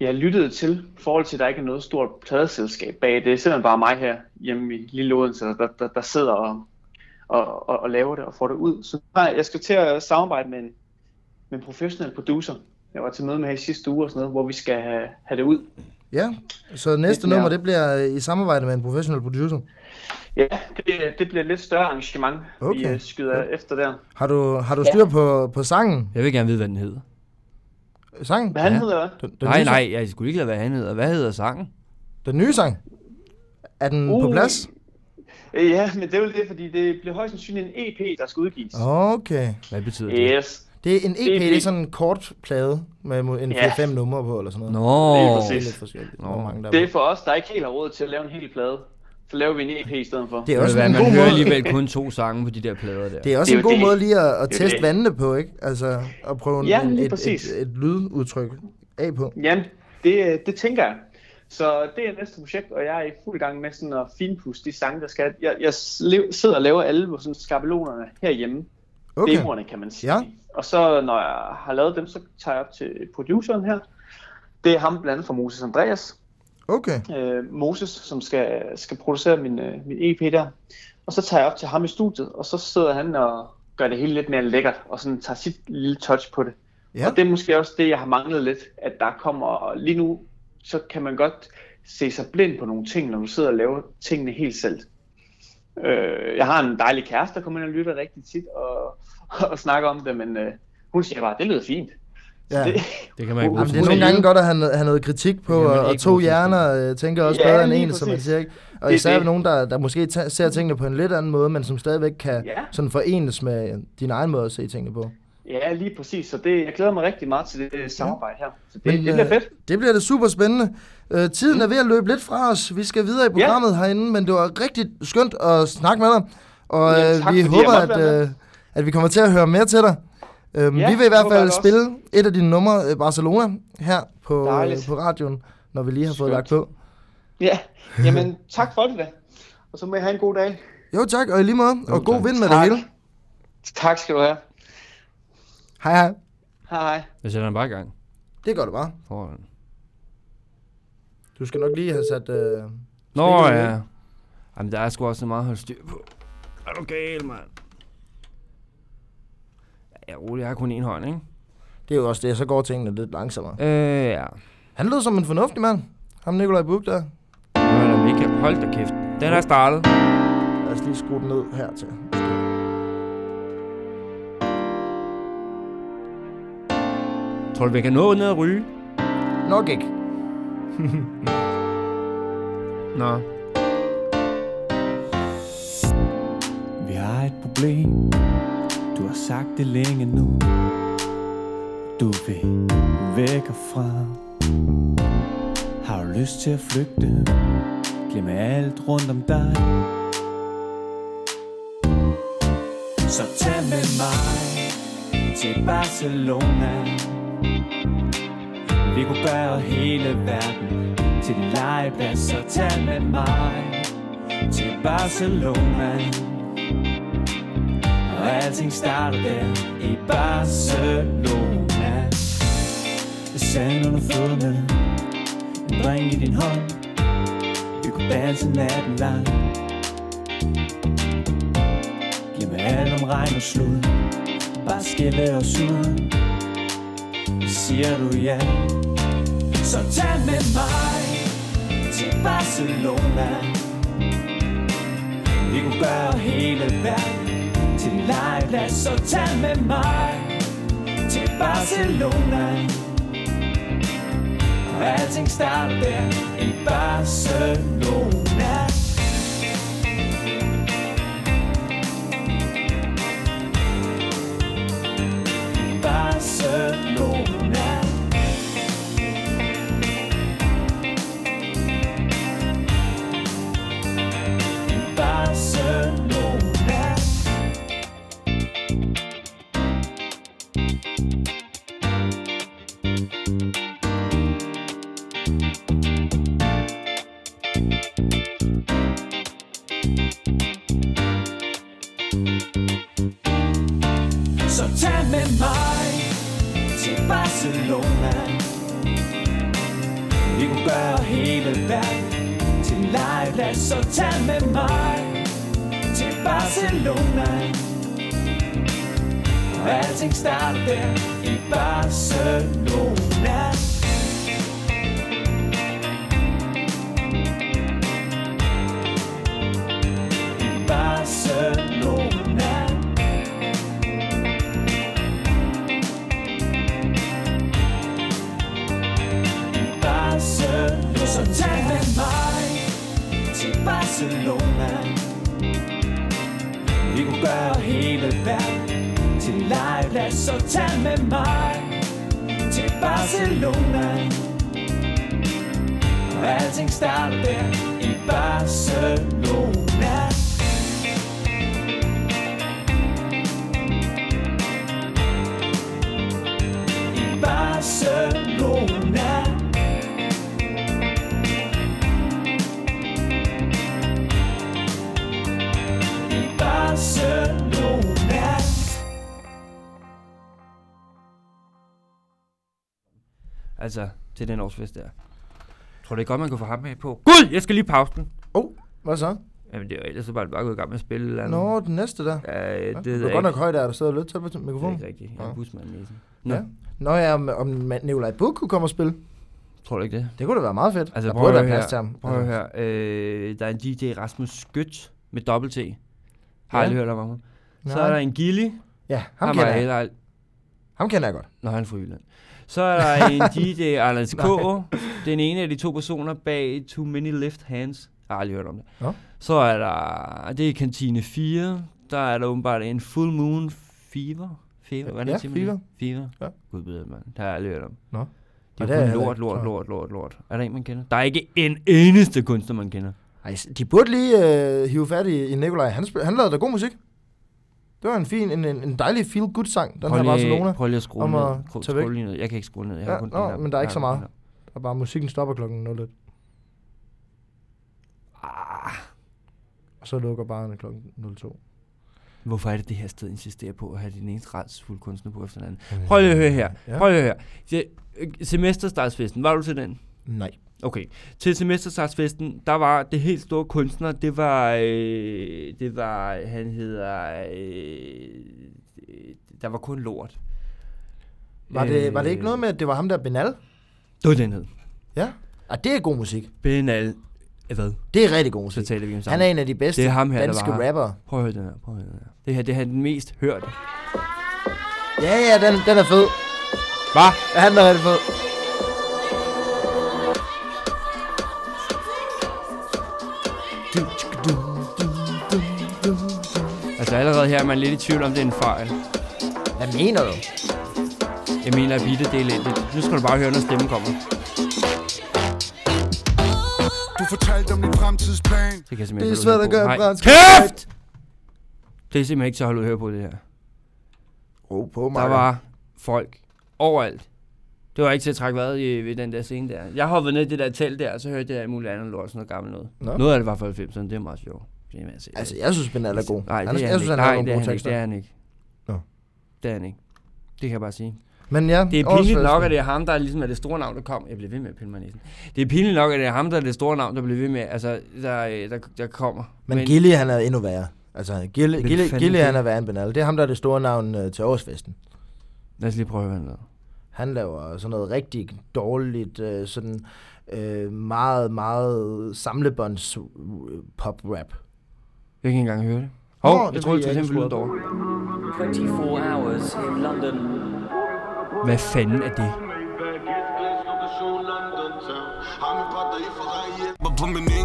S3: jeg har lyttet til, i forhold til, at der ikke er noget stort pladeselskab bag. Det er simpelthen bare mig her hjemme i Lille Odense, der, der, der sidder og, og, og, og laver det og får det ud. Så nej, jeg skal til at samarbejde med en, med en professionel producer. Jeg var til møde med her i sidste uge og sådan noget, hvor vi skal have, have det ud.
S2: Ja, så næste
S3: Lidt mere.
S2: nummer, det bliver øh, i samarbejde med en professional producer.
S3: Ja, det, det bliver et lidt større arrangement, vi
S2: Okay.
S3: øh, skyder
S2: Ja.
S3: efter der.
S2: Har du, har du styr på, på sangen?
S1: Jeg vil gerne vide, hvad den hedder.
S2: Sangen?
S3: Hvad han
S1: Ja.
S3: hedder, hvad?
S2: Den, den,
S1: Nej,
S2: nye, sang?
S1: nej, jeg skulle ikke lade, hvad han hedder. Hvad hedder sangen?
S2: Den nye sang? Er den uh. på
S3: Uh.
S2: plads?
S3: Øh, Ja, men det er jo det, fordi det bliver højst sandsynligt en EP, der skal udgives.
S2: Okay.
S1: Hvad betyder det?
S3: Yes,
S2: Det er en EP,
S3: Det er
S2: det er
S3: det.
S2: sådan en kort plade med mo- en
S3: Ja.
S2: 4-5 numre på, eller sådan noget.
S1: Nå,
S3: Lige
S2: Det er
S3: præcis.
S2: lidt forskelligt,
S1: Nå.
S2: hvor mange der
S3: det
S2: er
S3: er
S2: på.
S3: for os, der ikke helt har råd til at lave en hel plade. Så laver vi en EP i stedet for.
S2: Det er
S1: det
S2: også
S1: hvad,
S2: en
S1: man
S2: god
S1: hører
S2: måde,
S1: alligevel kun to sange på de der plader der.
S2: det er også
S3: Det er
S2: en
S3: jo
S2: god
S3: det.
S2: måde lige at, at
S3: Det er jo
S2: teste
S3: det.
S2: vandene på, ikke? Altså at prøve en,
S3: Ja,
S2: en-
S3: lige
S2: et, et,
S3: præcis.
S2: et, et lydudtryk af på.
S3: Jamen, det, det tænker jeg. Så det er næste projekt, og jeg er i fuld gang med sådan at finpudse de sange, der skal. Jeg, jeg slev- sidder og laver alle på sådan skabelonerne herhjemme. Okay.
S2: Okay.
S3: Demoerne, kan man sige.
S2: Ja.
S3: Og så når jeg har lavet dem, så tager jeg op til produceren her. Det er ham blandt andet fra Moses Andreas,
S2: Okay.
S3: øh, Moses, som skal, skal producere min, øh, min EP der. Og så tager jeg op til ham i studiet, og så sidder han og gør det hele lidt mere lækkert, og sådan tager sit lille touch på det.
S2: Ja.
S3: Ja. Og det er måske også det, jeg har manglet lidt, at der kommer, og lige nu, så kan man godt se sig blind på nogle ting, når du sidder og laver tingene helt selv. Øh, jeg har en dejlig kæreste, der kommer ind og lytter rigtig tit, og, og snakker om det, men øh, hun siger bare, det lyder fint. Så
S2: Ja.
S3: det,
S1: Det kan man ikke
S3: Jamen,
S1: bruge
S2: Jamen, det er
S1: til
S2: nogle
S1: noget.
S2: gange godt at have, noget- have noget kritik på,
S1: Det kan man
S2: og, og
S1: ikke
S2: to
S1: bruge til
S2: hjerner øh, tænker også
S3: Ja,
S2: bedre end
S3: lige
S2: en, som man
S3: præcis.
S2: siger, ikke? Og
S3: Det er
S2: især
S3: det.
S2: nogen, der, der måske ta- ser tingene på en lidt anden måde, men som stadigvæk kan
S3: Ja.
S2: sådan forenes med din egen måde at se tingene på.
S3: Ja, lige præcis. Så det, jeg glæder mig rigtig meget til det samarbejde her. Så det,
S2: Men,
S3: det bliver
S2: øh,
S3: fedt. Mm.
S2: Det bliver det super spændende. Øh, tiden er ved at løbe lidt fra os. Vi skal videre i programmet yeah. herinde, men det var rigtig skønt at snakke med dig. Og
S3: Jamen,
S2: øh,
S3: tak,
S2: vi
S3: fordi
S2: håber,
S3: jeg måtte være
S2: at, øh, at vi kommer til at høre mere til dig. Øhm,
S3: Ja,
S2: vi vil i
S3: det
S2: hvert
S3: håber
S2: fald
S3: jeg da også.
S2: spille et af dine numre, øh, Barcelona, her på, øh,
S3: Dejligt.
S2: på radioen, når vi lige har fået
S3: Skønt.
S2: lagt på.
S3: Ja, jamen tak for det da. Og så må I have en god dag.
S2: Jo tak, og i lige måde.
S1: Jo,
S2: og god
S1: tak.
S2: vind med
S3: Tak.
S2: det hele.
S3: Tak skal du have.
S2: Hej hej.
S3: Hej hej.
S1: Jeg sætter den bare i gang.
S2: Det gør du bare.
S1: Foran.
S2: Du skal nok lige have sat... Øh...
S1: Nå
S2: Stikker du
S1: ja. Jamen, der er sgu også så meget at holde styr på. Er du gal, mand? Ja, rolig, jeg har kun én hånd, ikke?
S2: Det er jo også det, så går tingene lidt langsommere.
S1: Øh, ja.
S2: Han lød som en fornuftig mand. Ham Nikolaj Buk der.
S1: Hold da, Michael. Hold da kæft. Den er startet.
S2: Lad os lige skrue den ned hertil.
S1: Tror du, vi kan nå ned og ryge?
S2: Nok ikke.
S1: Nå.
S4: Vi har et problem Du har sagt det længe nu Du vil væk herfra Har du lyst til at flygte Glem alt rundt om dig Så tag med mig Til Barcelona Vi kunne gøre hele verden Til din legeplads Så tag med mig Til Barcelona og alting starter der i Barcelona Sand under fødderne En dreng i din hånd Vi kunne danse natten lang Glem alt om regn og slud Bare skille os ud Siger du ja Så tag med mig Til Barcelona vi kunne gøre hele verden til en legeplads Så tag med mig til Barcelona Og alting starter der i Barcelona Barcelona Barcelona Så tag med mig til Barcelona vi kunne gøre hele verden til en legeplads Så tag med mig til Barcelona Og alting starter der i Barcelona I Barcelona Barcelona Så tag med mig til Barcelona Vi kunne gøre hele verden til en legeplads Så tag med mig til Barcelona Og alting starter der i Barcelona I Barcelona Barcelona.
S1: Altså, til den årsfest der. Tror du ikke godt, man kunne få ham med på? Gud, jeg skal lige pause den.
S2: Oh, hvad så?
S1: Jamen, det er jo ellers så bare, bare gået i gang med at spille eller andet.
S2: Nå, den næste der.
S1: Ja, det, det,
S2: Det
S1: det
S2: er
S1: er
S2: godt
S1: ikke.
S2: nok højt, der, der sidder og lytter til på
S1: Det er
S2: mikrofonen.
S1: ikke rigtigt. Jeg er
S2: Nå.
S1: en busmand i næsen. Nå,
S2: Ja. Nå ja, om, om Nikolaj Buk kunne komme og spille.
S1: tror du ikke det?
S2: Det kunne da være meget fedt.
S1: Altså,
S2: der
S1: prøv
S2: burde
S1: at
S2: være
S1: høre
S2: plads til ham.
S1: Prøv at høre. Øh, der er en DJ Rasmus Skødt med dobbelt T. Har
S2: Ja.
S1: aldrig hørt om ham. Så
S2: Nej.
S1: er der en Gilly.
S2: Ja, ham,
S1: Ham
S2: kender
S1: har
S2: jeg.
S1: jeg heller ald-
S2: ham kender jeg godt.
S1: Nå, han er fra Jylland. Så er der en DJ Arlands K. Den ene af de to personer bag Too Many Left Hands. Jeg har aldrig hørt om det.
S2: Nå.
S1: Så er der... Det er Kantine 4. Der er der åbenbart en Full Moon Fever. Fever, hvad er
S2: Ja,
S1: det, siger man det? Fever?
S2: Ja.
S1: Gud bedre, mand. Det har jeg aldrig hørt om.
S2: Nå.
S1: Det
S2: Og det er
S1: er
S2: jeg
S1: kun
S2: heller
S1: lort,
S2: ikke
S1: lort,
S2: klar over.
S1: lort, lort, lort. Er der en, man kender? Der er ikke en eneste kunstner, man kender.
S2: Ej, de burde lige øh, hive fat i, i Nikolaj. Han, spil, han lavede da god musik. Det var en fin, en, en, en dejlig feel-good sang, den her Barcelona.
S1: Prøv lige at skrue
S2: om
S1: ned.
S2: at
S1: Prøv,
S2: tage væk.
S1: skrue lige ned. Jeg kan ikke skrue ned. Jeg
S2: Ja,
S1: har kun
S2: nå,
S1: den
S2: men der er ikke så meget.
S1: den her.
S2: Og bare musikken stopper klokken 01.
S1: Ah,
S2: Og så lukker barnet klokken 02.
S1: hvorfor er det det her sted insisterer på at have din eneste retsfulde kunstner på efter den anden? Prøv lige at høre her.
S2: Ja.
S1: Prøv lige at høre. Se- øh, Semesterstartsfesten, var du til den?
S2: Nej.
S1: Okay. Til semesterstartsfesten, der var det helt store kunstner, det var, øh, det var, han hedder, øh, der var kun lort.
S2: Var, det, var det
S1: Øh,
S2: ikke noget med, at det var ham der Benal?
S1: Det var den hed.
S2: Ja. Ah, det er god musik.
S1: Benal, eh, hvad?
S2: Det er rigtig god
S1: Så
S2: musik.
S1: taler vi om sammen.
S2: Han er en af de bedste
S1: Det er ham her, der
S2: danske
S1: var her.
S2: rappere.
S1: Prøv at høre den her, prøv at høre den her. Det her, det her er den mest hørte.
S2: Ja, ja, den, den er fed.
S1: Hva?
S2: Ja, Han er rigtig fed.
S1: Altså allerede her er man lidt i tvivl om, det er en fejl.
S2: Hvad mener du?
S1: Jeg mener, at bitte det er elendigt. Nu skal du bare høre, når stemmen kommer.
S5: Du fortalte om din fremtidsplan
S1: Det kan jeg simpelthen
S2: Det er
S1: ikke
S2: svært
S1: holde
S2: at
S1: ud på. Nej.
S2: gøre fransk.
S1: Kæft! Det er simpelthen ikke så at holde ud at høre på det her.
S2: Ro på mig.
S1: Der var folk overalt. Det var ikke til at trække vejret i, ved den der scene der. Jeg hoppede ned i det der telt der, og så hørte jeg alt muligt andet lort, sådan noget gammelt noget.
S2: Nå.
S1: Noget af det var fra 90'erne, det er meget sjovt. Det er altså,
S2: Altså, jeg synes, Benal er god.
S1: Nej, det er
S2: Han-
S1: han,
S2: jeg synes,
S1: ikke.
S2: han har
S1: Nej,
S2: nogle
S1: det er
S2: gode
S1: han ikke.
S2: tekster.
S1: Det er han ikke.
S2: Nå.
S1: Det er han ikke. Det kan jeg bare sige.
S2: Men ja,
S1: Det er
S2: årets
S1: pinligt nok,
S2: festival.
S1: at det er ham, der ligesom er det store navn, der kom. Jeg bliver ved med at pille mig i næsen. Det er pinligt nok, at det er ham, der er det store navn, der bliver ved med, altså, der, øh, der, der kommer.
S2: Men, men Gilly, han er endnu værre. Altså, Gilly,
S1: Hvem
S2: Gilly,
S1: fanden
S2: Gilly
S1: det?
S2: han er værre end Benal. Det er ham, der er det store navn øh, til årsfesten.
S1: Lad os lige prøve, hvad han lavede.
S2: Han laver sådan noget rigtig dårligt, øh, sådan øh, meget, meget samlebånds øh, pop-rap.
S1: Jeg kan ikke engang høre det.
S2: Nå,
S1: Hov, jeg
S2: det
S1: tror,
S2: ved
S1: det
S2: jeg
S1: er
S2: ikke,
S1: simpelthen
S2: sgu.
S1: dårligt.
S6: 24 hours in London.
S1: Hvad fanden er det? Det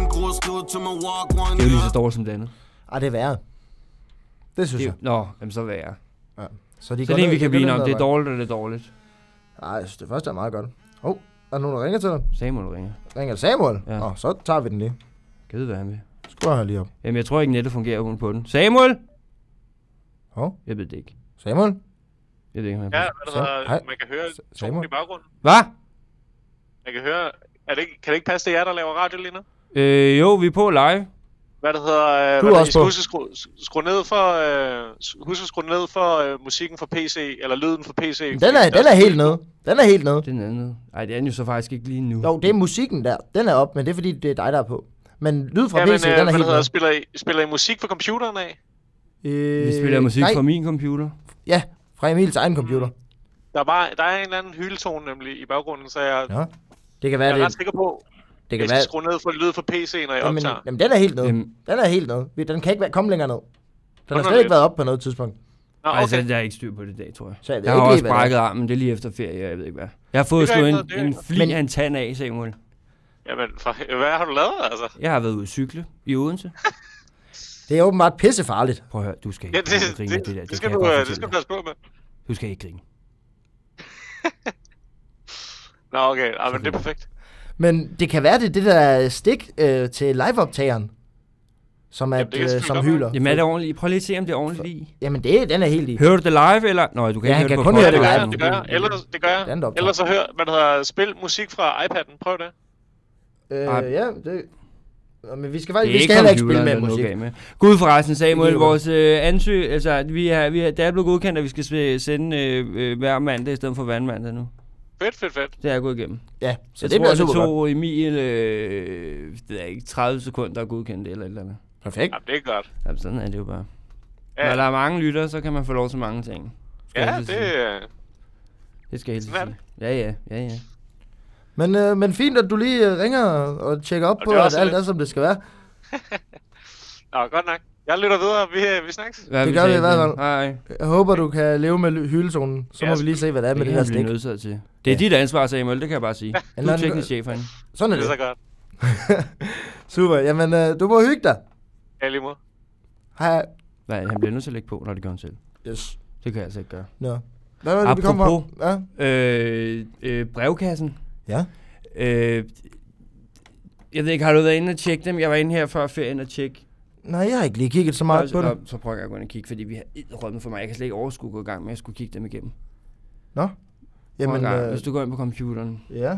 S1: er jo lige så dårligt som det andet.
S2: Ah, det er værre. Det synes
S1: Det er,
S2: jeg.
S1: nå, jamen så værre.
S2: Ja. Så, de
S1: Så det er en, vi kan blive enige om. Det er dårligt, og det er dårligt.
S2: Nej, jeg synes, det første er meget godt. Åh, oh, er der nogen, der ringer til dig?
S1: Samuel ringer.
S2: Ringer Samuel?
S1: Ja.
S2: Ja. Oh, så tager vi den lige.
S1: Kan vide, hvad han vil.
S2: Skruer jeg lige op.
S1: Jamen, jeg tror ikke, nettet fungerer uden på den. Samuel!
S2: Hov.
S1: Jeg ved det ikke.
S2: Samuel?
S1: Jeg ved ikke, om
S7: Ja,
S1: han
S7: hvad der
S2: Så- hej.
S7: hedder, man kan høre
S2: S- Samuel?
S7: tonen i baggrunden.
S1: Hvad?
S7: Man kan høre... Er det, ikke- kan det ikke passe, det er jer, der laver radio lige nu?
S1: Øh, jo, vi er på live.
S7: Hvad der hedder...
S2: Du er
S7: øh, hvad der-
S2: også
S7: I skal
S2: på.
S7: huske at skrue, skrue ned for, øh, s- husk at skrue ned for øh, musikken fra PC, eller lyden fra PC.
S2: Den er, den er helt nede. Den er helt nede.
S1: Det er den anden. Ej, det er den jo så faktisk ikke lige nu.
S2: Jo, det er musikken der. Den er op, men det er fordi, det er dig, der er på. Men lyd fra
S7: Ja,
S2: ja,
S7: men,
S2: PC,
S7: øh,
S2: den er
S7: hvad
S2: helt
S7: der hedder,
S2: nede.
S7: spiller I, spiller I musik fra computeren af?
S2: Øh,
S1: Vi spiller musik
S2: nej, Ah,
S1: fra min computer.
S2: Ja, fra Emils egen computer.
S7: Der er, bare, der er en eller anden hyletone nemlig i baggrunden, så jeg,
S2: Ja. Det kan
S7: jeg
S2: være,
S7: er ret
S2: det,
S7: sikker på,
S2: det
S7: at jeg
S2: kan
S7: skal
S2: være...
S7: skrue ned for lyd fra PC, når jeg
S2: Jamen,
S7: optager.
S2: jamen, den er helt nede.
S1: Jamen.
S2: Den er helt nede. Vi- Den kan ikke være, komme længere ned. Den har
S7: Nå,
S2: slet ikke
S7: nå,
S2: været op på noget tidspunkt.
S7: Nå,
S1: Okay. Altså,
S7: okay.
S1: der er ikke styr på det i dag, tror jeg.
S2: Så jeg ved
S1: jeg har
S2: ikke lige,
S1: også
S2: hvad det er.
S1: brækket armen, det er lige efter ferie, jeg ved ikke hvad. Jeg har fået
S7: Det gør
S1: slået
S7: ikke
S1: en,
S7: noget, det gør
S1: en
S7: ikke noget.
S1: fli
S2: Men-
S1: af en tand af, Samuel.
S7: Jamen, for, hvad har du lavet, altså?
S1: Jeg har været ude at cykle i Odense.
S2: Det er åbenbart pissefarligt.
S1: Prøv at høre, du skal ikke
S7: Ja,
S1: ja, det, grine af
S7: det,
S1: det der.
S7: det,
S1: Det,
S7: det, skal
S1: kan jeg
S7: du,
S1: godt
S7: øh, det
S1: fortælle
S7: skal du
S1: dig.
S7: passe på med.
S1: Du skal ikke grine.
S7: Nå, okay. Ah, men det er perfekt.
S2: Men det kan være, det er det der stik øh, til liveoptageren, som,
S7: Jamen,
S2: at,
S7: det kan
S2: øh,
S7: selvfølgelig
S2: som
S7: godt være.
S2: hyler.
S1: Jamen er det ordentligt? Prøv lige at se, om det er ordentligt lige.
S2: Jamen det, den er helt i.
S1: Hører du det live, eller? Nå, du kan
S2: Ja,
S1: ikke høre
S2: han kan
S1: det på
S2: kun høre
S7: Ja,
S2: Ja,
S7: det
S1: podcast.
S7: gør
S2: live.
S7: jeg, det gør jeg. Ellers, det gør
S2: Det er en
S7: jeg.
S2: optag.
S7: Ellers så hør, man hedder, spil musik fra iPad'en. Prøv det.
S1: Ej.
S2: Øh, ja, det... Nå, Men vi skal,
S1: Det er
S2: faktisk, vi
S1: ikke
S2: skal heller ikke spille
S1: computeren,
S2: med
S1: der er noget
S2: musik.
S1: galt Med. Gud forresten, Samuel,
S2: Det giver
S1: vores øh, ansøg, altså at vi har, vi har, det er blevet godkendt, at vi skal sve- sende øh, øh, hver mandag i stedet for hver anden mandag nu.
S7: Fedt, fedt, fedt.
S1: Det er jeg gået igennem.
S2: Ja, så
S1: jeg
S2: det
S1: tror,
S2: bliver super
S1: det
S2: godt.
S1: tog Emil, øh, det er ikke 30 sekunder at godkende det eller et eller andet.
S2: Perfekt.
S7: Jamen, det er godt.
S1: Jamen, sådan er det jo bare.
S7: Ja.
S1: Ja. Når der er mange lytter, så kan man få lov til mange ting. Skal jeg
S7: Ja,
S1: hilse
S7: det,
S1: sige.
S7: øh,
S1: det skal jeg helt
S7: Sådan er
S1: sige. Ja, ja, ja, ja.
S2: Men, øh, men fint, at du lige øh, ringer og tjekker op
S7: Og
S2: på,
S7: det er
S2: at
S7: også
S2: alt
S7: lidt-
S2: er, som det skal være.
S7: nå, godt nok. Jeg lytter videre. Vi, øh, vi snakkes.
S1: Hvad
S2: Det gør vi i hvert fald.
S1: Nej,
S2: Jeg håber, du kan leve med ly- hyldezonen. Så
S7: Ja,
S2: må vi lige se, hvad det er
S1: det
S2: med det
S1: kan
S2: her
S1: jeg blive
S2: stik.
S1: nødsaget til. Det er dit ansvar, Samuel, det kan jeg bare sige. Du
S2: Eller-
S1: er teknisk chef herinde.
S2: Sådan er
S7: Det er så
S2: det.
S7: godt.
S2: Super. Jamen, øh, du må hygge dig.
S7: Ja, lige måde.
S2: Hej.
S1: Nej, han bliver nødt til at lægge på, når det gør han selv.
S2: Yes.
S1: Det kan jeg altså ikke gøre.
S2: Nå. Hvad var det, vi kom fra?
S1: Apropos.
S2: Ja.
S1: Øh, øh, brevkassen.
S2: ja.
S1: Øh, jeg ved ikke, har du været inde og tjekke dem? Jeg var inde her før ferien og tjekke.
S2: Nej, jeg har ikke lige kigget så meget på det.
S1: Nå, så prøver jeg at gå ind og kigge, fordi vi har rødmet for mig. Jeg kan slet ikke overskue at gå i gang med, at jeg skulle kigge dem igennem.
S2: Nå. Jamen,
S1: Jamen, gang,
S2: øh,
S1: hvis du går ind på computeren.
S2: ja.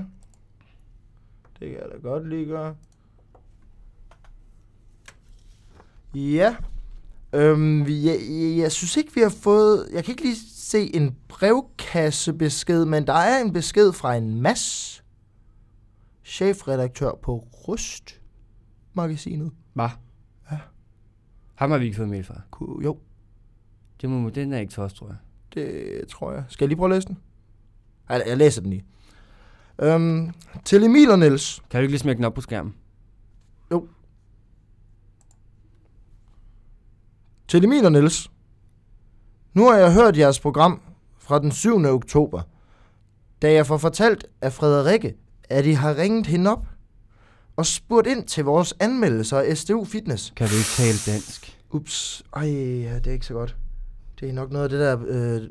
S2: Det kan jeg da godt lige gøre. Ja. Øhm, vi- jeg, jeg, jeg synes ikke, vi har fået... Jeg kan ikke lige se en brevkassebesked, men der er en besked fra en masse chefredaktør på Rust-magasinet.
S1: Hvad? Ja. Ham har vi ikke fået mail fra.
S2: Ku- Jo,
S1: Det må, den er ikke tosset, tror jeg.
S2: Det tror jeg. Skal jeg lige prøve at læse den? Ej, jeg læser den lige. Øhm, til Emil og Niels.
S1: Kan du ikke lige smække den op på skærmen?
S2: Til Emil og Niels. Nu har jeg hørt jeres program fra den 7. oktober, da jeg får fortalt af Frederikke, at I har ringet hende op og spurgt ind til vores anmeldelser af SDU Fitness.
S1: Kan du ikke tale dansk?
S2: Ups, ej, ja, det er ikke så godt. Det er nok noget af det der øh,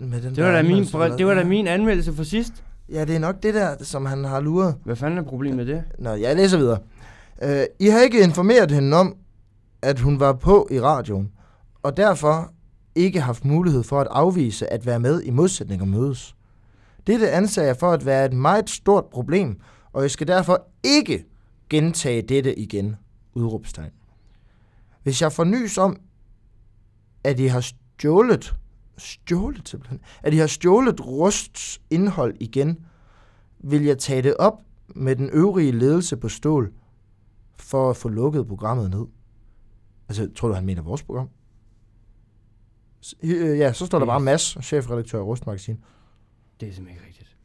S2: med den
S1: Det var,
S2: der
S1: da min,
S2: anmeldelse,
S1: brød,
S2: der-
S1: det var da min anmeldelse for sidst.
S2: Ja, det er nok det der, som han har luret.
S1: Hvad fanden er problemet med det?
S2: Nå, jeg læser videre. Øh, I har ikke informeret hende om, at hun var på i radioen, og derfor ikke haft mulighed for at afvise at være med i modsætning og mødes. Dette anser jeg for at være et meget stort problem, og jeg skal derfor ikke gentage dette igen. Udråbstegn. Hvis jeg får nys om, at I har stjålet, stjålet simpelthen, at I har stjålet rusts indhold igen, vil jeg tage det op med den øvrige ledelse på stål for at få lukket programmet ned. Altså, tror du, han mener vores program? S- øh, ja, så står der bare Mads, chefredaktør af Rustmagasin.
S1: Det er simpelthen ikke rigtigt.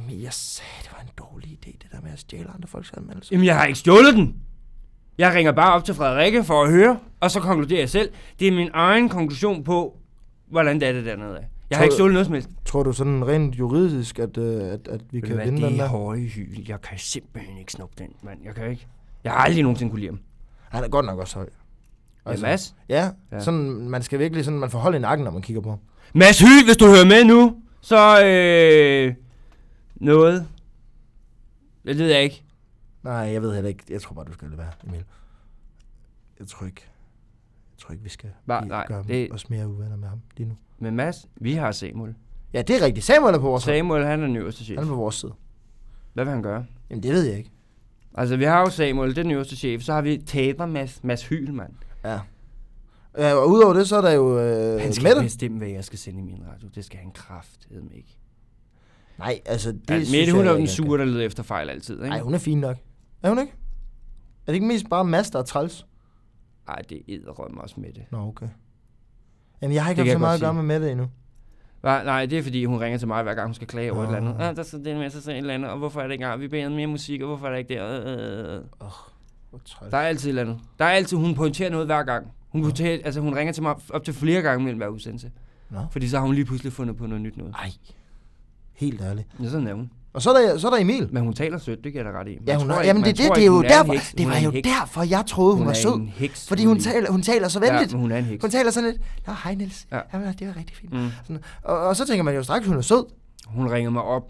S2: Jamen, jeg sagde, det var en dårlig idé, det der med at stjæle andre folks anmeldelser.
S1: Jamen, jeg har ikke stjålet den! Jeg ringer bare op til Frederikke for at høre, og så konkluderer jeg selv. Det er min egen konklusion på, hvordan det er det dernede af. Jeg har
S2: Tror-
S1: ikke stjålet noget som helst.
S2: Tror du sådan rent juridisk, at, øh, at, at vi
S1: Ved du
S2: kan
S1: hvad,
S2: vinde den
S1: det er
S2: der?
S1: høje hyl. Jeg kan simpelthen ikke snuppe den, mand. Jeg kan ikke. Jeg har aldrig nogensinde kunne lide ham.
S2: Han er godt nok også høj. Altså,
S1: Ja, Mads?
S2: Ja,
S1: Ja.
S2: ja. Sådan, man skal virkelig sådan, man får hold i nakken, når man kigger på ham.
S1: Mads Hyl, hvis du hører med nu, så øh, noget. Det ved jeg ikke.
S2: Nej, jeg ved heller ikke. Jeg tror bare, du skal lade være, Emil. Jeg tror ikke, jeg tror ikke vi skal
S1: Bare-
S2: vi
S1: nej,
S2: gøre
S1: det-
S2: det... os mere uvenner med ham lige nu.
S1: Men Mads, vi har Samuel.
S2: Ja, det er rigtigt. Samuel er på vores side.
S1: Samuel, han er den øverste chef.
S2: Han er på vores side.
S1: Hvad vil han gøre?
S2: Jamen, det ved jeg ikke.
S1: Altså, vi har jo Samuel, det er den øverste chef. Så har vi taber Mads, Mads Hyl, mand.
S2: Øh, Ja, Øh, og udover det, så er der jo øh,
S1: Han skal
S2: Mette.
S1: bestemme, hvad jeg skal sende i min radio. Det skal han kraftedeme ikke.
S2: Nej, altså, det
S1: Ja,
S2: synes
S1: Mette, hun
S2: jeg
S1: er jo
S2: ikke,
S1: den
S2: jeg
S1: sure, der leder efter fejl altid,
S2: skal.
S1: ikke?
S2: Nej, hun er fin nok. Er hun ikke? Er det ikke mest bare Mads, der er træls?
S1: Ej, det æderrømmer også med det.
S2: Nå, okay. Jamen, jeg har ikke
S1: Det kan
S2: haft så
S1: jeg
S2: meget at
S1: godt
S2: gøre med Mette endnu.
S1: Nej, nej, det er fordi, hun ringer til mig, hver gang hun skal klage over et eller andet.
S2: Nå.
S1: Ja, der skal den med, så et eller andet, og hvorfor er det ikke engang? Vi beder mere musik, og hvorfor er der ikke det? Øh, øh, øh.
S2: Hvor træls.
S1: Der er altid et eller andet. Der er altid, hun pointerer noget hver gang. Hun, pointerer, altså, hun ringer til mig op til flere gange mellem hver udsendelse.
S2: Nå.
S1: Fordi så har hun lige pludselig fundet på noget nyt noget.
S2: Ej, helt ærligt.
S1: Ja, sådan er hun.
S2: Og så er der, så er der Emil.
S1: Men hun taler sødt, det kan jeg da ret i. Man
S2: Ja, hun
S1: tror
S2: er,
S1: ikke-
S2: jamen
S1: man
S2: det, er det,
S1: tror
S2: det er
S1: ikke,
S2: jo
S1: hun en
S2: derfor,
S1: heks.
S2: det
S1: Hun
S2: var
S1: er en
S2: jo
S1: heks.
S2: derfor, jeg troede, hun,
S1: Hun
S2: var
S1: er
S2: sød.
S1: en heks,
S2: fordi
S1: hun
S2: hun
S1: er en-
S2: taler, hun taler så venligt.
S1: Ja, hun er en heks.
S2: Hun taler sådan lidt, Nå, hej Niels.
S1: Ja.
S2: Ja. Jamen, det var rigtig fint.
S1: Mm.
S2: Mm. Sådan, og, og, så tænker man jo straks, hun er sød.
S1: Hun ringede mig op.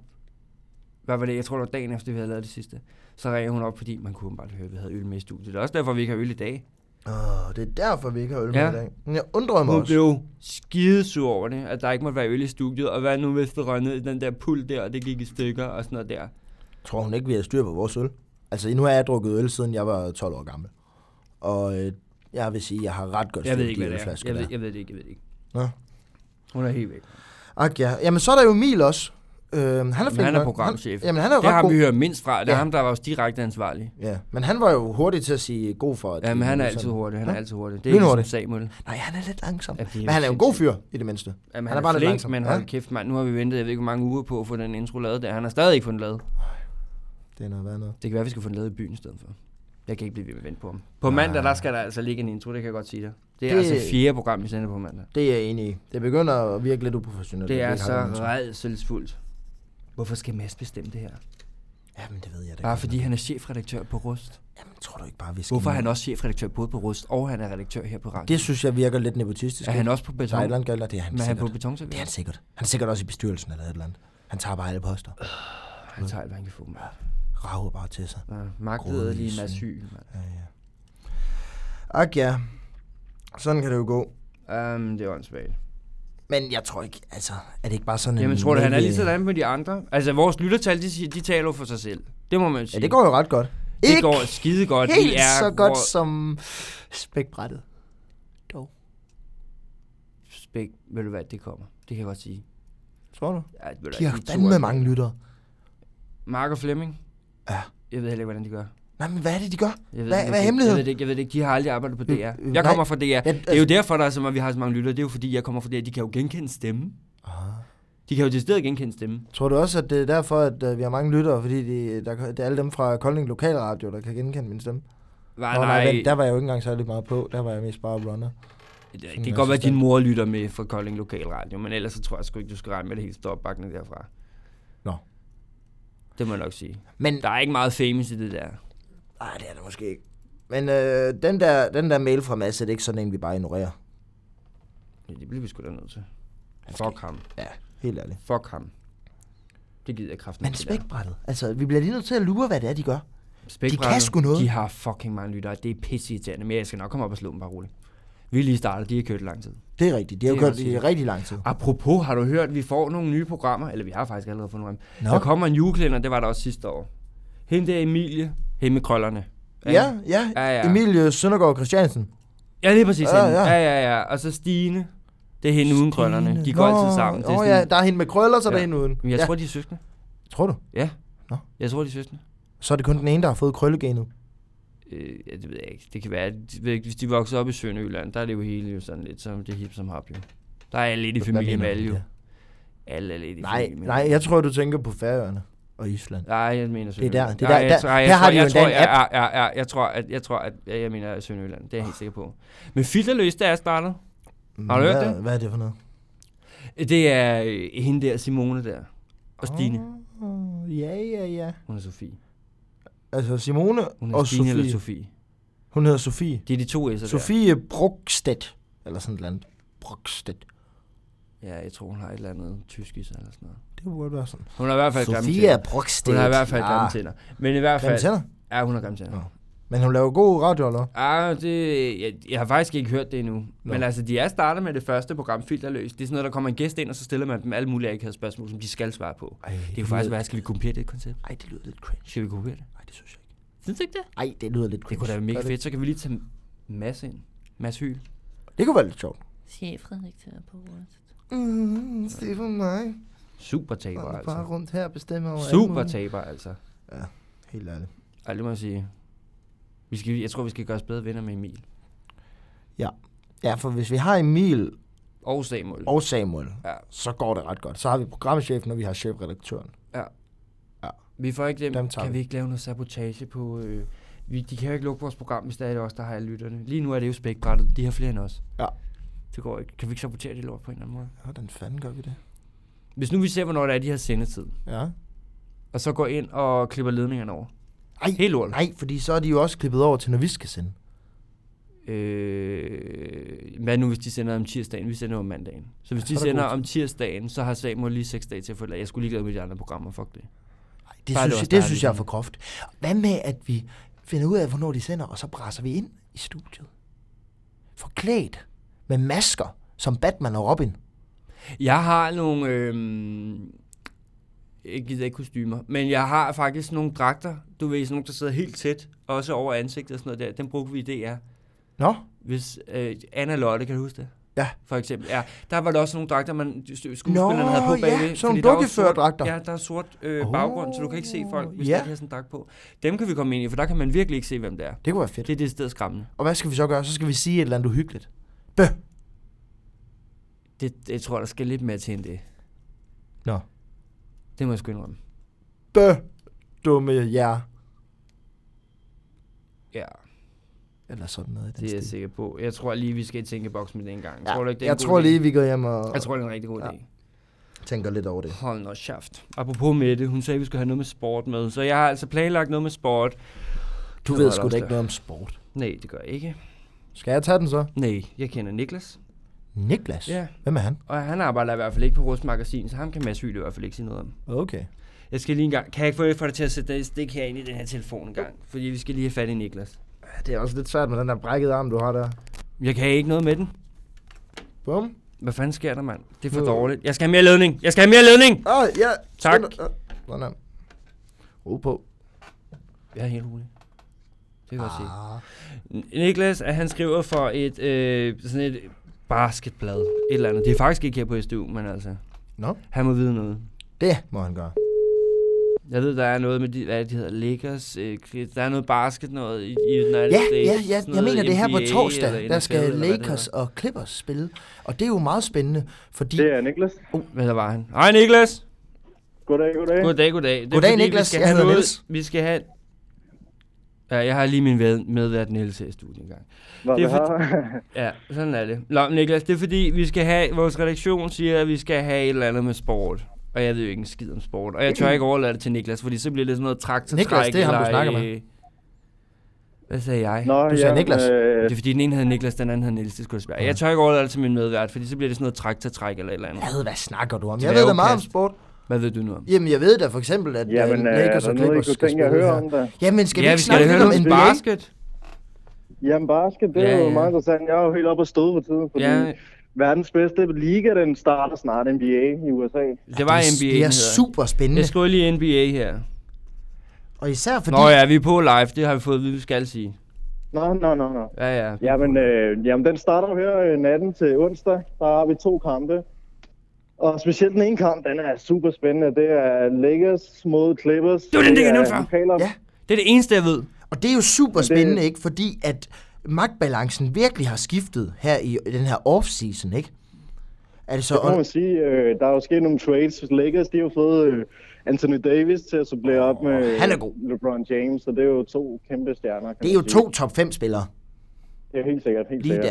S1: Hvad var det? Jeg tror, det var dagen efter, vi havde lavet det sidste. Så ringede hun op, fordi man kunne bare høre, at vi havde øl med i studiet. Det er også derfor, vi ikke har øl i dag.
S2: Åh, det er derfor, vi ikke har øl
S1: Ja.
S2: med i dag. Men jeg undrede mig
S1: Hun
S2: også.
S1: blev skidesur over det, at der ikke måtte være øl i studiet, og hvad nu hvis det røg ned i den der pul der, og det gik i stykker og sådan noget der.
S2: Tror hun ikke, vi har styr på vores øl? Altså, nu har jeg drukket øl, siden jeg var 12 år gammel. Og øh, jeg vil sige, jeg har ret godt
S1: Jeg ved
S2: styr
S1: ikke,
S2: på de
S1: hvad det er.
S2: ølflasker
S1: Jeg ved,
S2: der.
S1: jeg ved det ikke, jeg ved det ikke.
S2: Nå.
S1: Hun er helt væk.
S2: Ak, ja. Jamen, så er der jo Emil også. Øh, han er, flink
S1: Men han er
S2: nok.
S1: programchef.
S2: Han, jamen, han er jo
S1: det
S2: ret
S1: har
S2: god.
S1: vi hørt mindst fra. Det er
S2: Ja.
S1: ham, der var også direkte ansvarlig.
S2: Ja, men han var jo hurtig til at sige god for at
S1: Ja, men
S2: det-
S1: han er altid
S2: sådan.
S1: hurtig. Han er
S2: Ja.
S1: altid hurtig. Det er ligesom
S2: Lynhurtig.
S1: Samuel.
S2: Nej, han er lidt langsom.
S1: Ja, det er
S2: men han er jo en god fyr, i det mindste.
S1: Jamen,
S2: Han er bare lidt
S1: flink,
S2: langsom.
S1: men hold
S2: Ja.
S1: kæft, mand. Nu har vi ventet, jeg ved ikke, hvor mange uger på at få den intro lavet der. Han har stadig ikke fået den lavet.
S2: Det er noget værd noget.
S1: Det kan være, vi skal få den lavet i byen i stedet for. Jeg kan ikke blive ved med at vente på ham. På mandag, der skal der altså ligge en intro, det kan jeg godt sige dig. Det er det...
S2: Det-
S1: altså fjerde program, vi sender på mandag.
S2: Det er jeg enig i. Det begynder at virke lidt uprofessionelt.
S1: Det
S2: at vi
S1: er
S2: ikke har
S1: så
S2: nogen intro.
S1: redselsfuldt. Hvorfor skal Mads bestemme det her?
S2: Jamen, det ved jeg da
S1: Bare
S2: godt.
S1: fordi han er chefredaktør på Rust.
S2: Jamen, tror du ikke bare, vi skal...
S1: Hvorfor er han
S2: ned?
S1: også chefredaktør både på Rust, og han er redaktør her på Radio?
S2: Det synes jeg virker lidt nepotistisk.
S1: er han også på beton?
S2: Thailand gælder det er han
S1: Men er han
S2: sikkert.
S1: på
S2: Det er han
S1: betonservice?
S2: sikkert. Han er sikkert også i bestyrelsen eller et eller andet. Han tager bare alle poster.
S1: Han tager alt, hvad han kan få med.
S2: Rager bare til sig.
S1: Magtede lige en
S2: Grådig
S1: asyl, mand.
S2: Ak ja. Sådan kan det jo gå.
S1: Um, det er åndssvagt.
S2: Men jeg tror ikke, altså, er det ikke bare sådan
S1: Jamen,
S2: en...
S1: tror du, han er
S2: medie-
S1: lige sådan med de andre? Altså, vores lyttertal, de, siger- de taler jo for sig selv. Det må man sige.
S2: Ja, det går jo ret godt.
S1: det går skide godt.
S2: helt
S1: de er
S2: så godt
S1: hvor-
S2: som spækbrættet.
S1: Spæk, ved du hvad, det kommer. Det kan jeg godt sige.
S2: Tror du?
S1: Ja, ved du
S2: De
S1: hvad,
S2: har
S1: to
S2: fandme
S1: er-
S2: mange lyttere.
S1: Mark og Flemming?
S2: Ja.
S1: Jeg ved heller ikke, hvordan de gør.
S2: Nej, men hvad er det, de gør?
S1: Jeg ved,
S2: Hvad-
S1: ikke,
S2: hvad er
S1: jeg-
S2: hemmeligheden?
S1: Jeg ved det ikke, jeg ved det ikke. De har aldrig arbejdet på DR. Jeg
S2: øh, nej.
S1: kommer fra DR. det er jo
S2: altså-
S1: derfor, der er så meget, vi har så mange lyttere. Det er jo fordi, jeg kommer fra DR. De kan jo genkende stemme.
S2: Ah.
S1: De kan jo til stedet genkende stemme.
S2: Tror du også, at det er derfor, at øh, vi har mange lyttere, fordi de, der, det er alle dem fra Kolding Lokalradio, der kan genkende min stemme?
S1: Nej,
S2: Nå,
S1: nej,
S2: vent, der var jeg jo ikke engang særlig meget på. Der var jeg mest bare runner.
S1: det, det
S2: jeg
S1: kan godt være, at din
S2: synes,
S1: mor lytter med fra Kolding Lokalradio, men ellers så tror jeg sgu ikke, du skal regne med det helt store opbakning derfra.
S2: Nå.
S1: Det må jeg nok sige.
S2: Men,
S1: Der er ikke meget famous i det der.
S2: nej, det er det måske ikke. Men øh, den, der, den der mail fra Mads, er det ikke sådan en, vi bare ignorerer?
S1: Ja, det bliver vi sgu da nødt til.
S2: skal
S1: Fuck ham.
S2: Ja, helt ærligt.
S1: Fuck ham. Det gider jeg kraften
S2: Men spækbrættet, altså, vi bliver lige nødt til at lure, hvad det er, de gør.
S1: Spækbrættet,
S2: De kan sgu noget.
S1: De har fucking mange lyttere. Det er pisseirriterende, men jeg skal nok komme op og slå dem bare roligt. Vi er lige startet, de har kørt lang tid.
S2: Det er rigtigt. De har
S1: Det er
S2: jo kørt
S1: også
S2: i
S1: det.
S2: rigtig lang tid.
S1: Apropos, har du hørt, at vi får nogle nye programmer? Eller vi har faktisk allerede fået nogle.
S2: Nå.
S1: No. Der kommer en julekalender, det var der også sidste år. Hende der Emilie, hende med krøllerne.
S2: Ja, ja.
S1: Ja, ja.
S2: Emilie Søndergaard Christiansen.
S1: Ja, det er præcis
S2: Ja,
S1: ja, hende.
S2: ja.
S1: Ja. ja, ja, ja. Og så Stine. Det er hende uden krøllerne. De går
S2: Nå,
S1: altid sammen. Det er
S2: Åh
S1: sådan,
S2: ja, der er hende med krøller, så ja. der er
S1: Ja.
S2: hende uden.
S1: Men jeg
S2: ja.
S1: tror, de er søskende.
S2: tror du?
S1: Ja.
S2: Nå.
S1: Jeg tror, de er søskende.
S2: Så er det kun den ene, der har fået krøllegenet.
S1: Øh, ja, det ved jeg ikke. Det kan være, at de- ved ikke, hvis de vokser op i Sønderjylland, der er det jo hele jo sådan lidt, som det er hip som hop jo. Der er alle lidt i familie med alle jo. Alle er lidt i
S2: Nej,
S1: familie med
S2: nej,
S1: alle.
S2: jeg tror, du tænker på Færøerne og Island.
S1: Nej, jeg mener Sønderjylland.
S2: der- det er
S1: Nej,
S2: der-
S1: jeg
S2: der-
S1: tror- nej, jeg
S2: der har
S1: tror-
S2: de jo
S1: jeg
S2: endda
S1: tror-
S2: en
S1: ja, ja, ja, Jeg tror, at jeg tror, at ja, jeg mener Sønderjylland. Det er jeg helt sikker på. Men Filterløs, der er startet. Har du hørt
S2: Mm, hvad,
S1: det?
S2: Hvad er det for noget?
S1: Det er øh, hende der, Simone der. Og Stine.
S2: Oh, ja, ja, ja.
S1: Hun er Sofie.
S2: Altså Simone
S1: Hun er
S2: og
S1: Stine
S2: Sofie.
S1: eller Sofie.
S2: Hun hedder Sofie.
S1: Det er de to S'er
S2: Sofie Brugstedt. Eller sådan et eller andet. Brugstedt.
S1: der. Ja, jeg tror, hun har et eller andet tysk i sig eller sådan noget.
S2: Det burde være sådan.
S1: Hun har i hvert fald grimme
S2: Sofia
S1: tænder.
S2: Brugstedt. Ah,
S1: Hun har i hvert fald
S2: ja.
S1: grimme Ah. tænder. Men i hvert
S2: Grimme
S1: fald...
S2: tænder?
S1: Ja, hun har grimme tænder.
S2: Men hun laver god radio, eller hvad?
S1: Ah, det, jeg, jeg har faktisk ikke hørt det endnu. Nå. Men altså, de er startet med det første program, Filterløs. Det er sådan noget, der kommer en gæst ind, og så stiller man dem alle mulige akavede spørgsmål, som de skal svare på. Ej, det er jo faktisk, hvad skal vi kopiere det koncept?
S2: Ej, det lyder lidt cringe.
S1: Skal vi kopiere det?
S2: Ej, det synes jeg ikke.
S1: Synes du ikke det?
S2: Ej, det lyder lidt cringe.
S1: Det kunne da være mega
S2: Gør
S1: fedt. Så kan vi lige tage Mads ind. Mads Hyl.
S2: Det kunne være lidt sjovt.
S8: Chefredaktør på Rust.
S2: Mm, se for mig.
S1: Super taber, altså.
S2: rundt her og bestemmer over
S1: Super taber, altså.
S2: Helt ærligt.
S1: Ej, det må jeg sige. Vi skal, jeg tror, vi skal gøre os bedre venner med Emil.
S2: Ja, for hvis vi har Emil
S1: Og Samuel.
S2: og Samuel, ja.
S1: Ja.
S2: så går det ret godt. Så har vi programchefen, og vi har chefredaktøren.
S1: Vi får ikke dem.
S2: Dem
S1: dem
S2: tager
S1: kan
S2: vi.
S1: vi. ikke lave noget sabotage på... Øh, vi, de kan jo ikke lukke vores program, hvis der er det os, der har alle lytterne. Lige nu er det jo spækbrættet. De har flere end os.
S2: Ja.
S1: Det går ikke. Kan vi ikke sabotere det lort på en eller anden måde?
S2: Hvordan fanden gør vi det?
S1: Hvis nu vi ser, hvornår det er, de har sendetid,
S2: Ja.
S1: og så går ind og klipper ledningerne over.
S2: Ej,
S1: Helt lort.
S2: nej, fordi så er de jo også klippet over til, når vi skal sende.
S1: Øh, hvad nu, hvis de sender om tirsdagen? Vi sender om mandagen. Så hvis
S2: så er
S1: de
S2: der
S1: sender
S2: god tid.
S1: om tirsdagen, så har Samuel lige seks dage til at få Jeg skulle lige glade med de andre programmer. Fuck det.
S2: Ej, det,
S1: Så er det
S2: synes,
S1: også
S2: jeg, det
S1: dejligt,
S2: synes jeg er
S1: ikke?
S2: for groft. Hvad med, at vi finder ud af, hvornår de sender, og så brasser vi ind i studiet. Forklædt med masker, som Batman og Robin.
S1: Jeg har nogle... Øh, jeg gider ikke kostymer, men jeg har faktisk nogle dragter. Du ved, sådan nogle, der sidder helt tæt, også over ansigtet og sådan noget der. Den brugte vi i DR.
S2: Nå,
S1: Hvis øh, Anna Lotte, kan du huske det?
S2: Ja.
S1: For eksempel, ja. Der var der også nogle dragter, man skuespillerne
S2: Nå,
S1: havde på
S2: ja,
S1: bagved.
S2: sådan
S1: fordi
S2: nogle
S1: der er jo
S2: dukkeførerdragter.
S1: sort- Ja, der er sort øh, baggrund, så du kan ikke se folk, hvis
S2: Ja.
S1: ja. de ikke har sådan en dragt på. Dem kan vi komme ind i, for der kan man virkelig ikke se, hvem det er.
S2: det kunne være fedt.
S1: Det er det sted skræmmende.
S2: Og hvad skal vi så gøre? Så skal vi sige et eller andet uhyggeligt. Bø!
S1: Det, det jeg tror, der skal lidt mere til end det.
S2: Nå.
S1: Det må jeg sgu indrømme.
S2: Bø! Dumme jer.
S1: Ja,
S2: Eller sådan noget i den
S1: det er jeg
S2: stil.
S1: sikker på. Jeg tror lige, vi skal i tænkeboks med det en gang.
S2: Ja,
S1: tror du ikke, det er en
S2: jeg
S1: god
S2: tror
S1: idé?
S2: lige, vi går hjem og...
S1: Jeg tror, det er en rigtig god
S2: Ja.
S1: idé.
S2: tænker lidt over det.
S1: Hold nu shaft. Apropos Mette, hun sagde, vi skulle have noget med sport med. Så jeg har altså planlagt noget med sport.
S2: Du
S1: Det
S2: ved
S1: var
S2: sgu
S1: der
S2: da
S1: også
S2: ikke noget om sport.
S1: Nej, det gør jeg ikke.
S2: Skal jeg tage den så?
S1: Nej, jeg kender Niklas.
S2: Niklas?
S1: Ja.
S2: Hvem er han?
S1: Og han arbejder i hvert fald ikke på Rust Magasin, så ham kan Mads Hyl i hvert fald ikke sige noget om.
S2: Okay.
S1: Jeg skal lige en gang. Kan jeg ikke få- få dig til at sætte det stik her ind i den her telefon en gang? Fordi vi skal lige have fat i Niklas.
S2: Ja, Det er også lidt svært med den der brækkede arm, du har der.
S1: Jeg kan ikke noget med den.
S2: Bum.
S1: Hvad fanden sker der, mand? Det er for
S2: Nu-
S1: dårligt. Jeg skal have mere ledning. Jeg skal have mere ledning!
S2: Åh, ja.
S1: Tak.
S2: Skynd dig. Åh, Sådan her. Ro på.
S1: Jeg er helt rolig. Det kan jeg godt
S2: Ah.
S1: sige. Niklas, at han skriver for et, øh, sådan et basketblad. Et eller andet. Det er faktisk ikke her på SDU, men altså.
S2: Nå.
S1: Han må vide noget.
S2: Det må han gøre.
S1: Jeg ved, der er noget med, de, hvad de hedder, Lakers. Øh, der er noget basket noget i, i United
S2: Ja,
S1: States.
S2: ja, ja,
S1: sådan
S2: jeg
S1: noget
S2: mener det er her på
S1: NBA
S2: torsdag,
S1: eller
S2: der
S1: NFL,
S2: skal
S1: eller hvad det
S2: Lakers og Clippers spille. Og det er jo meget spændende, fordi...
S9: Det er Niklas.
S1: hedder. Hvad der var han? Hej, Niklas!
S9: Goddag, goddag.
S1: Goddag, goddag. Det er
S2: Goddag,
S1: fordi,
S2: Niklas.
S1: Vi skal
S2: Jeg
S1: have
S2: hedder
S1: noget,
S2: Niels.
S1: Vi skal have... Ja, jeg har lige min ved- medvært Niels her i studiet engang.
S9: Var
S1: det
S9: det
S1: er
S9: her?
S1: Ja, sådan er det. Nå, Niklas, det er fordi, vi skal have... Vores redaktion siger, at vi skal have et eller andet med sport. Og jeg ved jo ikke en skid om sport. Og jeg tør ikke overlade det til Niklas, fordi så bliver det sådan noget traktortræk.
S2: Niklas, det er ham, du
S1: eller,
S2: snakker med.
S1: øh, Hvad sagde jeg?
S9: Nå,
S2: Du sagde Niklas.
S9: Øh,
S1: Det er fordi, den ene havde Niklas, den anden havde Niels. Det skulle være. Jeg tør ikke overlade det til min medvært, fordi så bliver det sådan noget traktortræk eller et eller andet.
S2: Hvad, hvad snakker du om?
S1: Det
S2: Jeg
S1: er
S2: ved da
S1: jo
S2: meget om
S1: kast.
S2: sport.
S1: Hvad ved du nu om?
S2: Jamen, jeg ved da for eksempel, at øh,
S9: jamen, øh, er
S2: Lakers
S9: der
S2: og
S9: noget, I
S2: Clippers
S9: kunne
S2: skal
S9: tænke jer
S2: spille
S9: at høre
S2: her.
S9: om der?
S2: Jamen, skal vi
S1: ja,
S2: ikke snakke lidt
S1: høre
S2: om
S1: noget
S2: NBA?
S1: basket.
S9: Jamen, basket, det
S1: Ja,
S9: er jo
S1: ja.
S9: meget interessant. Jeg er jo helt oppe og støde på tiden, fordi
S1: Ja,
S9: verdens bedste liga, den starter snart NBA i USA.
S1: det var NBA,
S2: Det
S1: den
S2: er
S1: hedder.
S2: super spændende.
S1: Jeg skriver lige NBA her.
S2: Og især fordi...
S1: Nå ja, vi er på live, det har vi fået at vide, vi skal sige.
S9: Nå, nå, nå, nå.
S1: Ja, ja.
S9: Jamen, øh, jamen, den starter jo her øh, natten til onsdag. Der har vi to kampe. Og specielt den ene kamp, den er super spændende. Det er Lakers mod Clippers.
S1: var den, jeg nævnte før.
S9: lokaler.
S2: Ja.
S1: Det er det eneste, jeg ved.
S2: Og det er jo super spændende, ikke? Fordi at magtbalancen virkelig har skiftet her i den her off-season, ikke? Altså,
S9: Det må man
S2: og,
S9: sige, øh, der er jo sket nogle trades. Lakers, de har jo fået øh, Anthony Davis til at supplere op med
S2: han er god.
S9: LeBron James, så det er jo to kæmpe stjerner. Kan
S2: det er
S9: man
S2: jo
S9: sige.
S2: to top 5 spillere
S9: Det er helt sikkert, helt
S2: lige
S9: sikkert.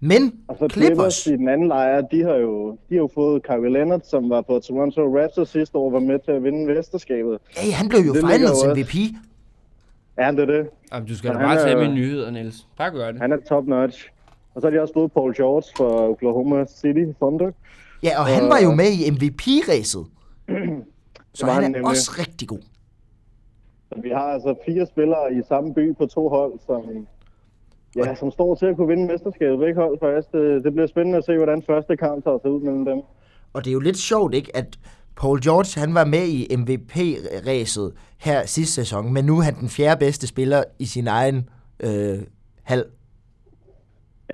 S2: der. Men
S9: Og så
S2: Clippers,
S9: Clippers i den anden lejr, de har jo, de har jo fået Kawhi Leonard, som var på Toronto Raptors sidste år, var med til at vinde mesterskabet.
S2: hey, han blev jo
S9: Det ligger jo
S2: finals
S9: også.
S2: MVP.
S9: Ja, det er det.
S1: Jamen, du skal da
S9: Han
S1: bare
S9: er-
S1: tage mine nyheder, Niels. Bare gør det.
S9: Han er top notch. Og så har de også fået Paul George fra Oklahoma City Thunder.
S2: Ja, og han var jo med i MVP-ræset. Så
S9: var
S2: han er
S9: han nemlig.
S2: også rigtig god.
S9: Så vi har altså fire spillere i samme by på to hold, som, ja, som står til at kunne vinde mesterskabet. Begge hold først. Øh, Det bliver spændende at se, hvordan første kamp tager sig ud mellem dem.
S2: Og det er jo lidt sjovt, ikke, at Paul George, han var med i MVP-ræset her sidste sæson, men nu er han den fjerde bedste spiller i sin egen øh, halv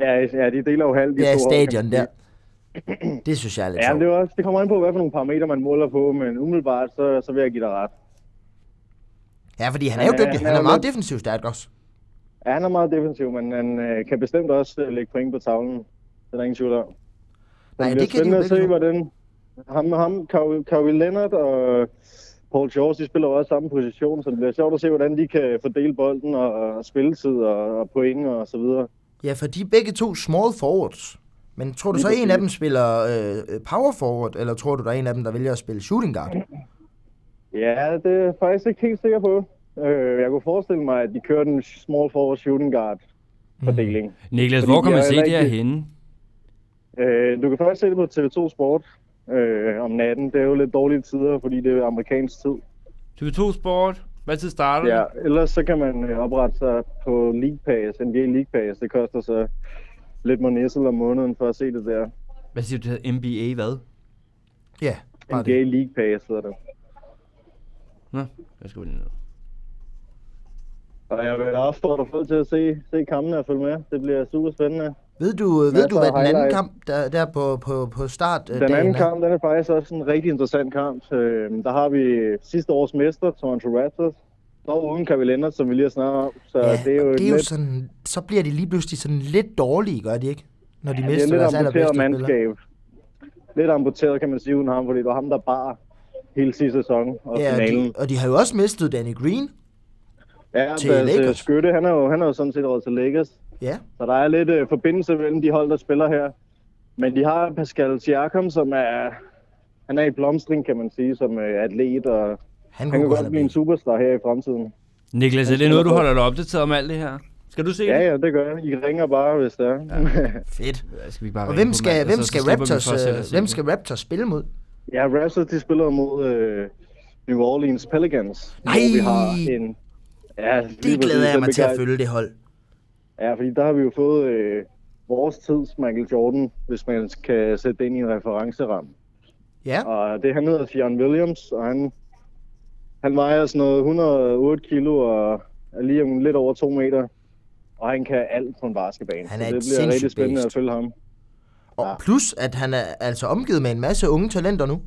S9: Ja, ja de deler jo halv de
S2: ja,
S9: to hold, kan man
S2: stadion
S9: sige.
S2: der. Det synes jeg er lidt
S9: Ja,
S2: sjovt.
S9: men det, er jo også, det kommer an på, hvad for nogle parametre man måler på, men umiddelbart, så, så vil jeg give dig ret.
S2: Ja, fordi han er jo
S9: Han er-
S2: dygtig.
S9: han
S2: Han
S9: er
S2: er
S9: jo
S2: meget
S9: lidt-
S2: defensivt stærk også.
S9: Ja, han er meget defensiv, men han øh, kan bestemt også øh, lægge point på tavlen. Det er der ingen tvivl om. Det
S2: Nej,
S9: bliver
S2: det kan de jo
S9: spændende at
S2: begge
S9: se,
S2: to.
S9: hvordan ham, ham Kawhi Kawhi Leonard og Paul George, de spiller jo også samme position, så det bliver sjovt at se, hvordan de kan fordele bolden og, og spilletid og, og point og så videre.
S2: Ja, for de er begge to small forwards. Men tror du så, en af dem spiller øh, power forward, eller tror du, der er en af dem, der vælger at spille shooting guard?
S9: Ja, det er jeg faktisk ikke helt sikker på. Øh, jeg kunne forestille mig, at de kører den small forward shooting guard fordeling.
S1: Niklas,
S9: Fordi
S1: hvor kan
S9: jeg
S1: man
S9: er
S1: se det
S9: heller
S1: her
S9: ikke-
S1: henne?
S2: Mm.
S9: Øh, du kan faktisk se det på TV2 Sport øh, om natten. Det er jo lidt dårlige tider, fordi det er amerikansk tid.
S1: TV2 Sport. Hvad tid starter
S9: Ja,
S1: det?
S9: ellers så kan man øh, oprette sig på League Pass, NBA League Pass. Det koster så lidt monessel om måneden for at se det der.
S1: Hvad siger du, det hedder NBA hvad?
S2: Ja, bare
S9: NBA
S2: det.
S9: League Pass hedder det.
S1: Nå, jeg skal lige ned.
S9: Og jeg vil opfordre folk til at se, se kampene og følge med. Det bliver super spændende.
S2: Ved du, øh, ved du
S9: Masser
S2: hvad
S9: af
S2: den anden
S9: highlights.
S2: kamp, der, der på, på, på start øh,
S9: Den
S2: dagen
S9: anden
S2: er?
S9: kamp, den er faktisk også en rigtig interessant kamp. Øh, der har vi sidste års mester, Toronto Raptors. Dog uden Kawhi Leonard, som vi lige har snakket om. Så
S2: Ja,
S9: ja, det er jo,
S2: og
S9: et
S2: det er jo
S9: lidt-
S2: sådan, så bliver de lige pludselig sådan lidt dårlige, gør de ikke? Når de
S9: Det er
S2: mister
S9: lidt
S2: deres allerbedste
S9: amputeret
S2: spiller.
S9: mandskab. Lidt amputeret, kan man sige, uden ham, fordi det var ham, der bar hele sidste sæson og
S2: Ja, og
S9: finalen.
S2: de, og de har jo også mistet Danny Green.
S9: Ja,
S2: til
S9: til altså,
S2: Lakers.
S9: Skytte, han er, jo, han er jo sådan set over til Lakers.
S2: Ja,
S9: Så der er lidt øh, forbindelse mellem de hold, der spiller her. Men de har Pascal Siakam, som er han er i blomstring, kan man sige, som øh, atlet, og
S2: Han
S9: han
S2: kunne
S9: kan
S2: godt
S9: godt blive en
S2: have
S9: superstar her i fremtiden.
S1: Niklas, er det noget, du holder dig opdateret om alt det her? Skal du se
S9: Ja,
S1: det?
S9: ja, det gør jeg. I ringer bare, hvis det er. Ja,
S2: Fedt.
S1: Ja. Skal vi bare
S2: Og
S1: ringe
S2: hvem
S1: på
S2: skal,
S1: mandag,
S2: hvem
S1: så- så
S2: skal,
S1: slipper vi
S2: Raptors,
S1: for at sætte
S2: øh,
S1: os i
S2: hvem
S1: det?
S2: skal Raptors spille mod?
S9: ja Raptors, de spiller mod øh, New Orleans Pelicans. hvor
S2: Nej!
S9: Vi har en, ja,
S2: Det glæder jeg mig til at følge det hold.
S9: Ja, fordi der har vi jo fået øh, vores tids Michael Jordan, hvis man kan sætte det ind i en referenceramme.
S2: Ja,
S9: Og det, han hedder Fionn Williams, og han, han vejer sådan noget 108 kilo og er lige om lidt over 2 meter. Og han kan alt på en basketbane.
S2: Han er
S9: så
S2: et
S9: det bliver rigtig
S2: sindssygt
S9: spændende
S2: beast.
S9: at følge ham. Ah,
S2: og plus at han er altså omgivet med en masse unge talenter nu.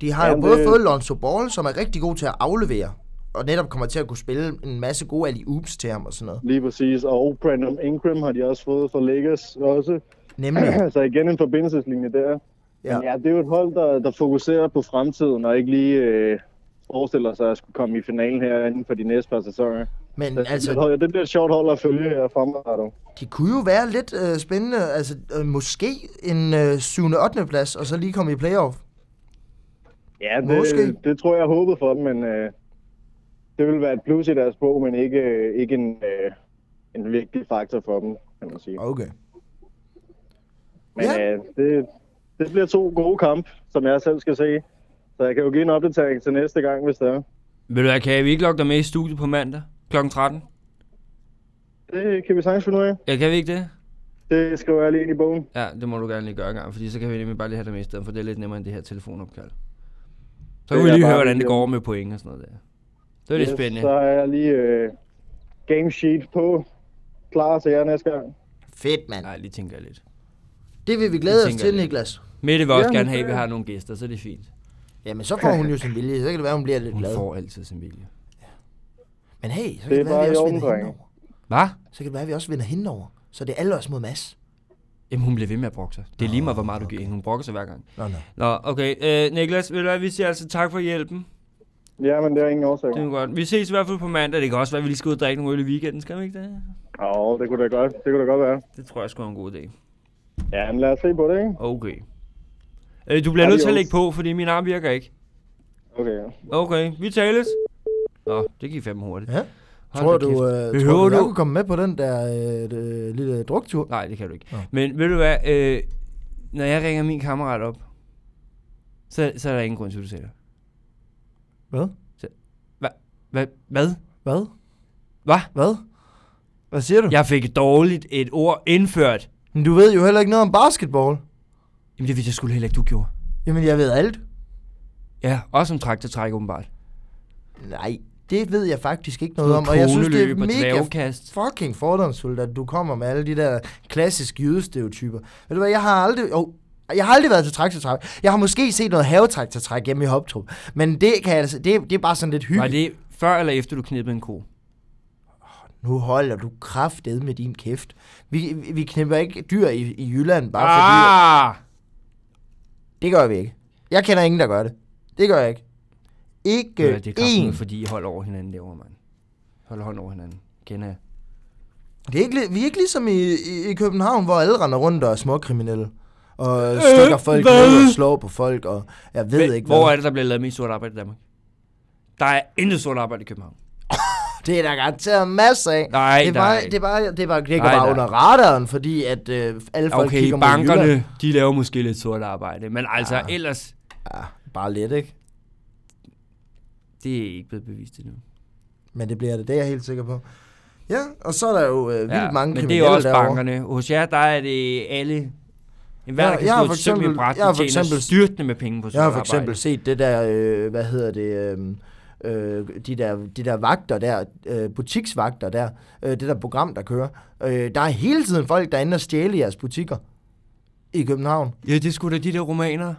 S2: De har jo
S9: Jamen,
S2: både
S9: det-
S2: fået Lonzo Ball, som er rigtig god til at aflevere, og netop kommer til at kunne spille en masse gode alley-oops til ham og sådan noget.
S9: Lige præcis. Og Brandon Ingram har de også fået fra Lakers også.
S2: Nemlig.
S9: så igen en forbindelseslinje der.
S2: Mm. Ja.
S9: Ja. Men ja, det er jo et hold, der, der fokuserer på fremtiden, og ikke lige øh, forestiller sig at skulle komme i finalen her inden for de næste par sæsoner.
S2: Men
S9: Så
S2: altså,
S9: altså, det, bliver- det bliver et sjovt hold at følge her fremadrettet.
S2: De kunne jo være lidt øh, spændende, altså øh, måske en øh, 7. og 8. plads, og så lige komme i playoff.
S9: Ja, det,
S2: Måske.
S9: det tror jeg, jeg håbede for dem, men øh, det vil være et plus i deres bog, men ikke, øh, ikke en, øh, en vigtig faktor for dem, kan man sige.
S2: Okay.
S9: Men
S2: Ja.
S9: øh, det, det bliver to gode kampe, som jeg selv skal se. Så jeg kan jo give en opdatering til næste gang, hvis det er.
S1: Ved du hvad, kan vi ikke logge dig med i studiet på mandag kl. 13?
S9: Det kan vi sagtens finde ud af.
S1: Ja, kan vi ikke det?
S9: Det skriver jeg lige ind i bogen.
S1: Ja, det må du gerne lige gøre en gang, fordi så kan vi nemlig bare lige have det med i stedet, for det er lidt nemmere end det her telefonopkald. Så
S9: Det
S1: kan vi
S9: er
S1: lige
S9: bare
S1: høre, hvordan det
S9: lige-
S1: går med point og sådan noget der. Det er lidt
S9: Yes,
S1: spændende.
S9: Så er jeg lige øh, game sheet på. Klar til jer næste gang.
S2: Fedt, mand.
S1: Nej, lige tænker jeg lidt.
S2: Det vil vi glæde
S1: Det
S2: os
S1: tænker
S2: til,
S1: jeg.
S2: Niklas.
S1: Mette vil også
S9: Jamen,
S1: gerne have, at
S9: det-
S1: vi har nogle gæster, så det er fint.
S2: Jamen, så får hun jo sin vilje, så kan det være, hun bliver lidt
S1: Hun
S2: glad.
S1: får altid sin vilje.
S2: Men hey, så kan
S9: Det
S2: det,
S9: er
S2: være,
S9: bare
S2: at vi
S9: i
S2: også
S9: orden,
S2: vinder hende
S9: drenge.
S2: over.
S1: Hvad?
S2: Så kan det være, at vi også vinder hende over. Så det er alle os mod Mads.
S1: Jamen, hun bliver ved med at brokke sig. Det er lige meget, hvor meget du giver hende. Hun brokker sig hver gang.
S2: Nå, nå.
S1: Nå, okay. Øh, Niklas, ved du hvad, vi siger altså tak for hjælpen.
S9: Ja, men det er ingen årsag.
S1: Det er
S9: Åh,
S1: godt. Vi ses i hvert fald på mandag. Det kan også være, at vi lige skal ud og drikke nogle øl i weekenden, skal vi ikke det?
S9: oh, det kunne da godt, det kunne da godt være.
S1: Det tror jeg sgu er en god idé.
S9: Ja, men lad os se på det, ikke?
S1: Okay. Øh, du bliver nødt til at
S9: Adios.
S1: lægge på, fordi min arm virker ikke.
S9: Okay.
S1: Okay, vi tales. Nå, det gik fandme hurtigt.
S2: Ja.
S1: Hold
S2: Tror
S1: da
S2: du,
S1: kæft.
S2: øh,
S1: Behøver
S2: tror du, jeg
S1: du-
S2: kunne komme med på den der øh, øh, lille druktur?
S1: Nej, det kan du ikke.
S2: Nå.
S1: Men ved du hvad, øh, når jeg ringer min kammerat op, så, så er der ingen grund til, at du siger det.
S2: Hvad?
S1: Hvad? Hvad?
S2: Hvad?
S1: Hvad?
S2: Hvad? Hvad siger du? Ja.
S1: Jeg fik dårligt et ord indført.
S2: Men du ved jo heller ikke noget om basketball.
S1: Jamen det vidste jeg skulle heller ikke, du gjorde.
S2: Jamen, jeg ved alt.
S1: Ja, også om traktortræk åbenbart.
S2: Nej, det ved jeg faktisk ikke noget om,
S1: Noget
S2: og jeg synes, det er
S1: kogløb og
S2: mega
S1: dværgkast.
S2: fucking fordomsfuldt, at du kommer med alle de der klassiske jydestereotyper. Ved du hvad, jeg har aldrig... Oh, jeg har aldrig været til traktortræk. Jeg har måske set noget havetraktortræk hjemme i Hoptrup, men det, kan jeg, altså, det, det er bare sådan lidt
S1: Var
S2: hyggeligt. Det...
S1: det før eller efter, du knippede en ko?
S2: Nu holder du kraftet med din kæft. Vi, vi- vi knipper ikke dyr i, i Jylland bare fordi...
S1: Ah!
S2: Det gør vi ikke. Jeg kender ingen, der gør det. Det gør jeg ikke. Ikke
S1: Ja, det er kraften,
S2: én.
S1: fordi I holder over hinanden derovre, mand. Hold hånd over hinanden. Kender jeg.
S2: Det er ikke, li- vi er ikke ligesom i, i, i København, hvor alle render rundt og er småkriminelle. Og øh, stikker folk
S1: hvad?
S2: ned og slår på folk, og jeg ved
S1: Men
S2: ikke
S1: hvor
S2: hvad.
S1: er det, der bliver lavet mest sort arbejde i Danmark? Der er intet sort arbejde i København.
S2: Det er der garanteret masser af.
S1: Nej,
S2: det er bare,
S1: nej.
S2: det er bare, det er bare, det ligger
S1: Nej,
S2: bare
S1: nej.
S2: under radaren, fordi at øh, alle folk
S1: Okay,
S2: kigger mod Jylland.
S1: bankerne, de laver måske lidt sort arbejde, men altså ja. ellers,
S2: Bare lidt, ikke?
S1: det er ikke blevet bevist endnu.
S2: Men det bliver det, det er jeg helt sikker på. Ja, og så er der jo øh, vildt
S1: Ja,
S2: mange
S1: men det er
S2: kriminelle
S1: jo også
S2: derovre.
S1: bankerne. Hos jer, der er det alle... En hver,
S2: Jeg-
S1: der kan
S2: jeg har
S1: slå
S2: for
S1: et søm i
S2: eksempel-
S1: bræt,
S2: jeg har for
S1: tjener
S2: eksempel-
S1: styrtende med penge på sort
S2: Jeg har for
S1: arbejde.
S2: eksempel set det der, øh, hvad hedder det, øh, øh, de, der, de der vagter der, øh, butiksvagter der, øh, det der program, der kører. Øh, der er hele tiden folk, der er inde og stjæle i jeres butikker i København.
S1: Ja, det er sgu da de der romaner.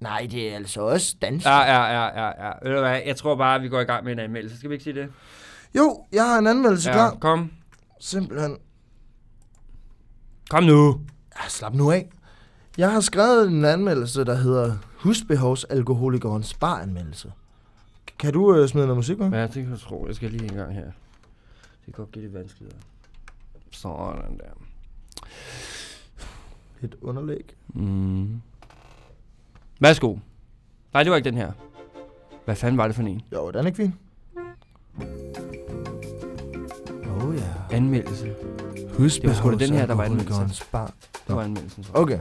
S2: Nej, det er altså også dansk.
S1: Ja, ja, ja, ja, ja. Ved du hvad, jeg tror bare, vi går i gang med en anmeldelse. Skal vi ikke sige det?
S2: Jo, jeg har en anmeldelse ja. klar.
S1: kom.
S2: Simpelthen.
S1: Kom nu.
S2: Ah, slap nu af. Jeg har skrevet en anmeldelse, der hedder Husbehovsalkoholikerens baranmeldelse. Kan du øh, smide noget musik med?
S1: Ja, det kan du tro. Jeg skal lige en gang her. Det kan godt blive lidt vanskeligere. Sådan der.
S2: Et underlæg.
S1: Mm. Værsgo. Nej, det var ikke den her. Hvad fanden var det for en?
S2: Jo, den er ikke fin. Oh ja. Yeah.
S1: Anmeldelse.
S2: Husk,
S1: Det var sgu da den her, der var anmeldelsen.
S2: Bar.
S1: Det var anmeldelsen, tror jeg.
S2: Okay,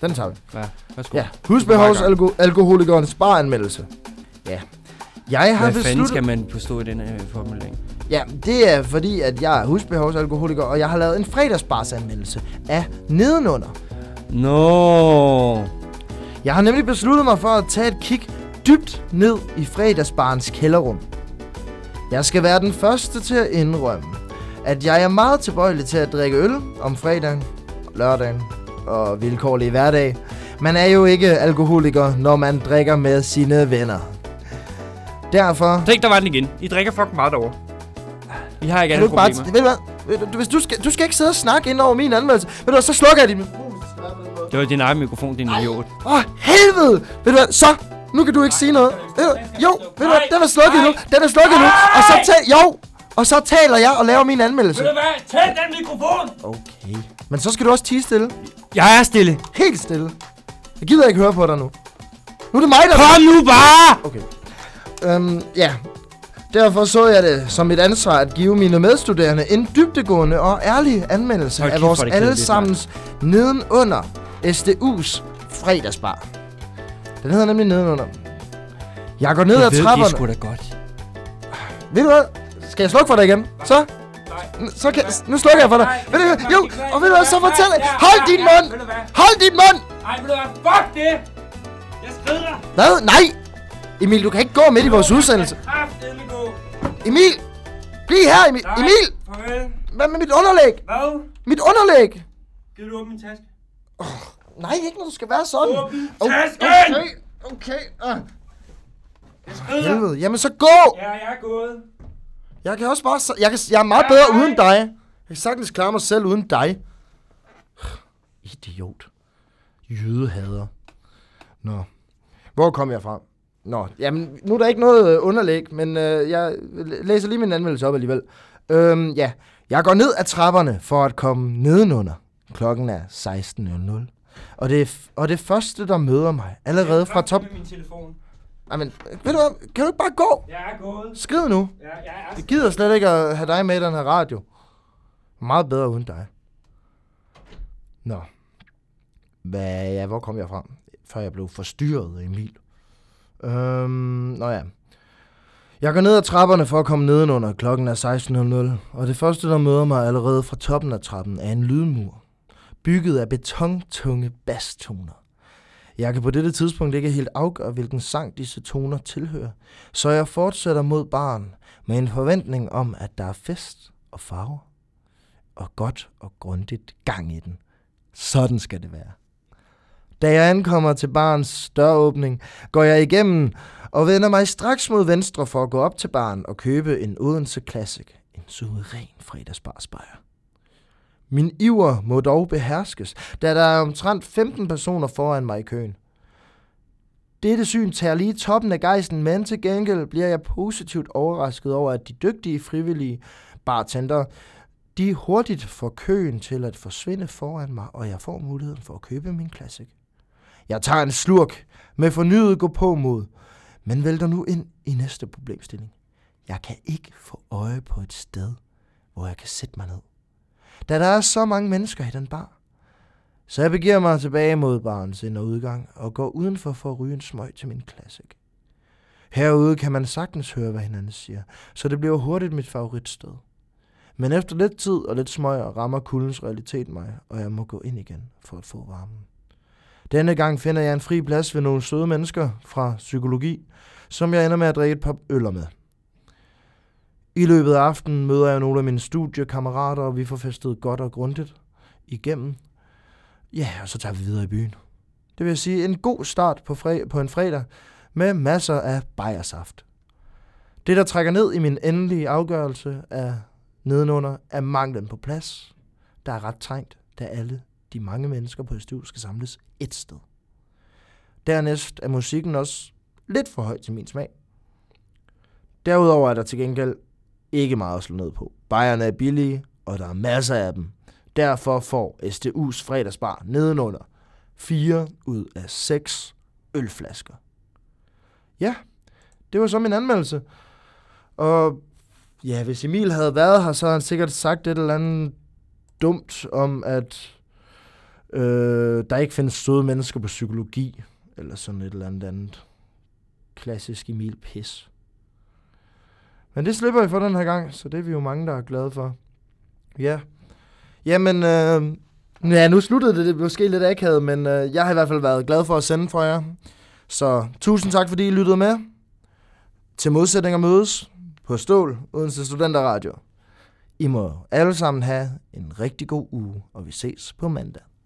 S2: den tager vi.
S1: Ja, værsgo.
S2: Ja, husbehovs alko- alkoholikernes baranmeldelse. Ja. Jeg har
S1: Hvad fanden
S2: besluttet...
S1: skal man forstå i den her formulering?
S2: Ja, det er fordi, at jeg er husbehovsalkoholiker, og jeg har lavet en fredagsbarsanmeldelse af nedenunder.
S1: Nå.
S2: Jeg har nemlig besluttet mig for at tage et kig dybt ned i fredagsbarens kælderrum. Jeg skal være den første til at indrømme, at jeg er meget tilbøjelig til at drikke øl om fredagen, lørdagen og vilkårlige hverdag. Man er jo ikke alkoholiker, når man drikker med sine venner. Derfor
S1: Tænk, der var den igen. I drikker fucking meget derovre. Vi har ikke
S2: Kan du
S1: alle
S2: ikke bare...
S1: problemer.
S2: Ved du hvad? Ved du- Hvis du skal, du skal ikke sidde og snakke ind over min anmeldelse. Ved du hvad, så slukker jeg din...
S1: Det var din egen mikrofon, din idiot.
S2: Åh, oh, helvede! Ved du hvad, så... Nu kan du ikke sige noget. Ved du, jo, ved du hvad, den er slukket nu. Den er slukket nu. Og så tal... Jo! Og så taler jeg og laver min anmeldelse.
S1: hvad? Tænd den mikrofon!
S2: Okay. Men så skal du også tige stille.
S1: Jeg er stille.
S2: Helt stille. Jeg gider ikke høre på dig nu. Nu er det mig, der...
S1: Kom nu bare!
S2: Okay. Øhm, ja. Derfor så jeg det som et ansvar at give mine medstuderende en dybtegående og ærlig anmeldelse
S1: Hold
S2: af
S1: kæft,
S2: vores
S1: hvor er det kedeligt,
S2: allesammens nedenunder SDU's fredagsbar. Den hedder nemlig nedenunder. Jeg går ned ad
S1: Det
S2: trapperne.
S1: sgu da godt.
S2: Ved du hvad? Skal jeg slukke for dig igen? Så? N- Så kan, s- nu slukker jeg for dig. Ved du hvad? Jo, og ved du hvad? Så fortæl Hold din mund! Hold din mund!
S1: Ej, ved du hvad? Fuck det! Jeg skrider!
S2: Hvad? Nej! Emil, du kan ikke gå midt i vores udsendelse.
S1: Kraftedeme gå!
S2: Emil! Bliv her, Emil! Emil!
S1: Farvel!
S2: Hvad med mit underlæg?
S1: Hvad?
S2: Mit underlæg!
S1: Gider du åbne min taske?
S2: Nej, ikke når du skal være sådan.
S1: Åbn
S2: Oh,
S1: tasken!
S2: Okay, okay. Uh. Helvede. Jamen så gå!
S1: Ja, jeg er gået.
S2: Jeg kan også bare... Jeg, kan, jeg er meget bedre uden dig. Jeg kan sagtens klare mig selv uden dig. Idiot. Jødehader. Nå. Hvor kom jeg fra? Nå, jamen, nu er der ikke noget øh, underlæg, men øh, jeg læ- læser lige min anmeldelse op alligevel. Øhm, ja. Jeg går ned ad trapperne for at komme nedenunder. Klokken er 16.00. Og det, er f- og det første, der møder mig, allerede fra top...
S1: Med min telefon.
S2: Jamen, ved du hvad? Kan du ikke bare gå?
S1: Jeg er gået.
S2: Skrid nu.
S1: Ja, jeg er
S2: Jeg gider slet ikke at have dig med i den her radio. Meget bedre uden dig. Nå. Hvad, ja, hvor kom jeg fra? Før jeg blev forstyrret af Emil. Øhm, nå ja. Jeg går ned ad trapperne for at komme nedenunder. Klokken er 16.00, og det første, der møder mig allerede fra toppen af trappen, er en lydmur. Bygget af betontunge basstoner. Jeg kan på dette tidspunkt ikke helt afgøre, hvilken sang disse toner tilhører, så jeg fortsætter mod baren med en forventning om, at der er fest og farver og godt og grundigt gang i den. Sådan skal det være. Da jeg ankommer til barens døråbning, går jeg igennem og vender mig straks mod venstre for at gå op til baren og købe en Odense Classic, en suveræn fredagsbarsbejer. Min iver må dog beherskes, da der er omtrent 15 personer foran mig i køen. Dette syn tager lige toppen af gejsten, men til gengæld bliver jeg positivt overrasket over, at de dygtige frivillige bartender, de hurtigt får køen til at forsvinde foran mig, og jeg får muligheden for at købe min klassik. Jeg tager en slurk med fornyet gå på mod, men vælter nu ind i næste problemstilling. Jeg kan ikke få øje på et sted, hvor jeg kan sætte mig ned. Da der er så mange mennesker i den bar, så jeg begiver mig tilbage mod barens ind- og udgang og går udenfor for at ryge en smøg til min klassik. Herude kan man sagtens høre, hvad hinanden siger, så det bliver hurtigt mit favoritsted. Men efter lidt tid og lidt smøg rammer kuldens realitet mig, og jeg må gå ind igen for at få varmen. Denne gang finder jeg en fri plads ved nogle søde mennesker fra psykologi, som jeg ender med at drikke et par øller med. I løbet af aftenen møder jeg nogle af mine studiekammerater, og vi får festet godt og grundigt igennem, Ja, og så tager vi videre i byen. Det vil sige en god start på, fre- på en fredag med masser af bajersaft. Det, der trækker ned i min endelige afgørelse af nedenunder, er manglen på plads. Der er ret trængt, da alle de mange mennesker på SDU skal samles et sted. Dernæst er musikken også lidt for høj til min smag. Derudover er der til gengæld ikke meget at slå ned på. Bajerne er billige, og der er masser af dem. Derfor får SDU's fredagsbar nedenunder 4 ud af 6 ølflasker. Ja, det var så min anmeldelse. Og ja, hvis Emil havde været her, så havde han sikkert sagt et eller andet dumt om, at øh, der ikke findes søde mennesker på psykologi, eller sådan et eller andet andet klassisk Emil pis. Men det slipper vi for den her gang, så det er vi jo mange, der er glade for. Ja. Jamen, øh, ja, nu sluttede det, det blev måske lidt akavet, men øh, jeg har i hvert fald været glad for at sende for jer. Så tusind tak, fordi I lyttede med. Til modsætninger mødes på Stål, Odense Studenter Radio. I må alle sammen have en rigtig god uge, og vi ses på mandag.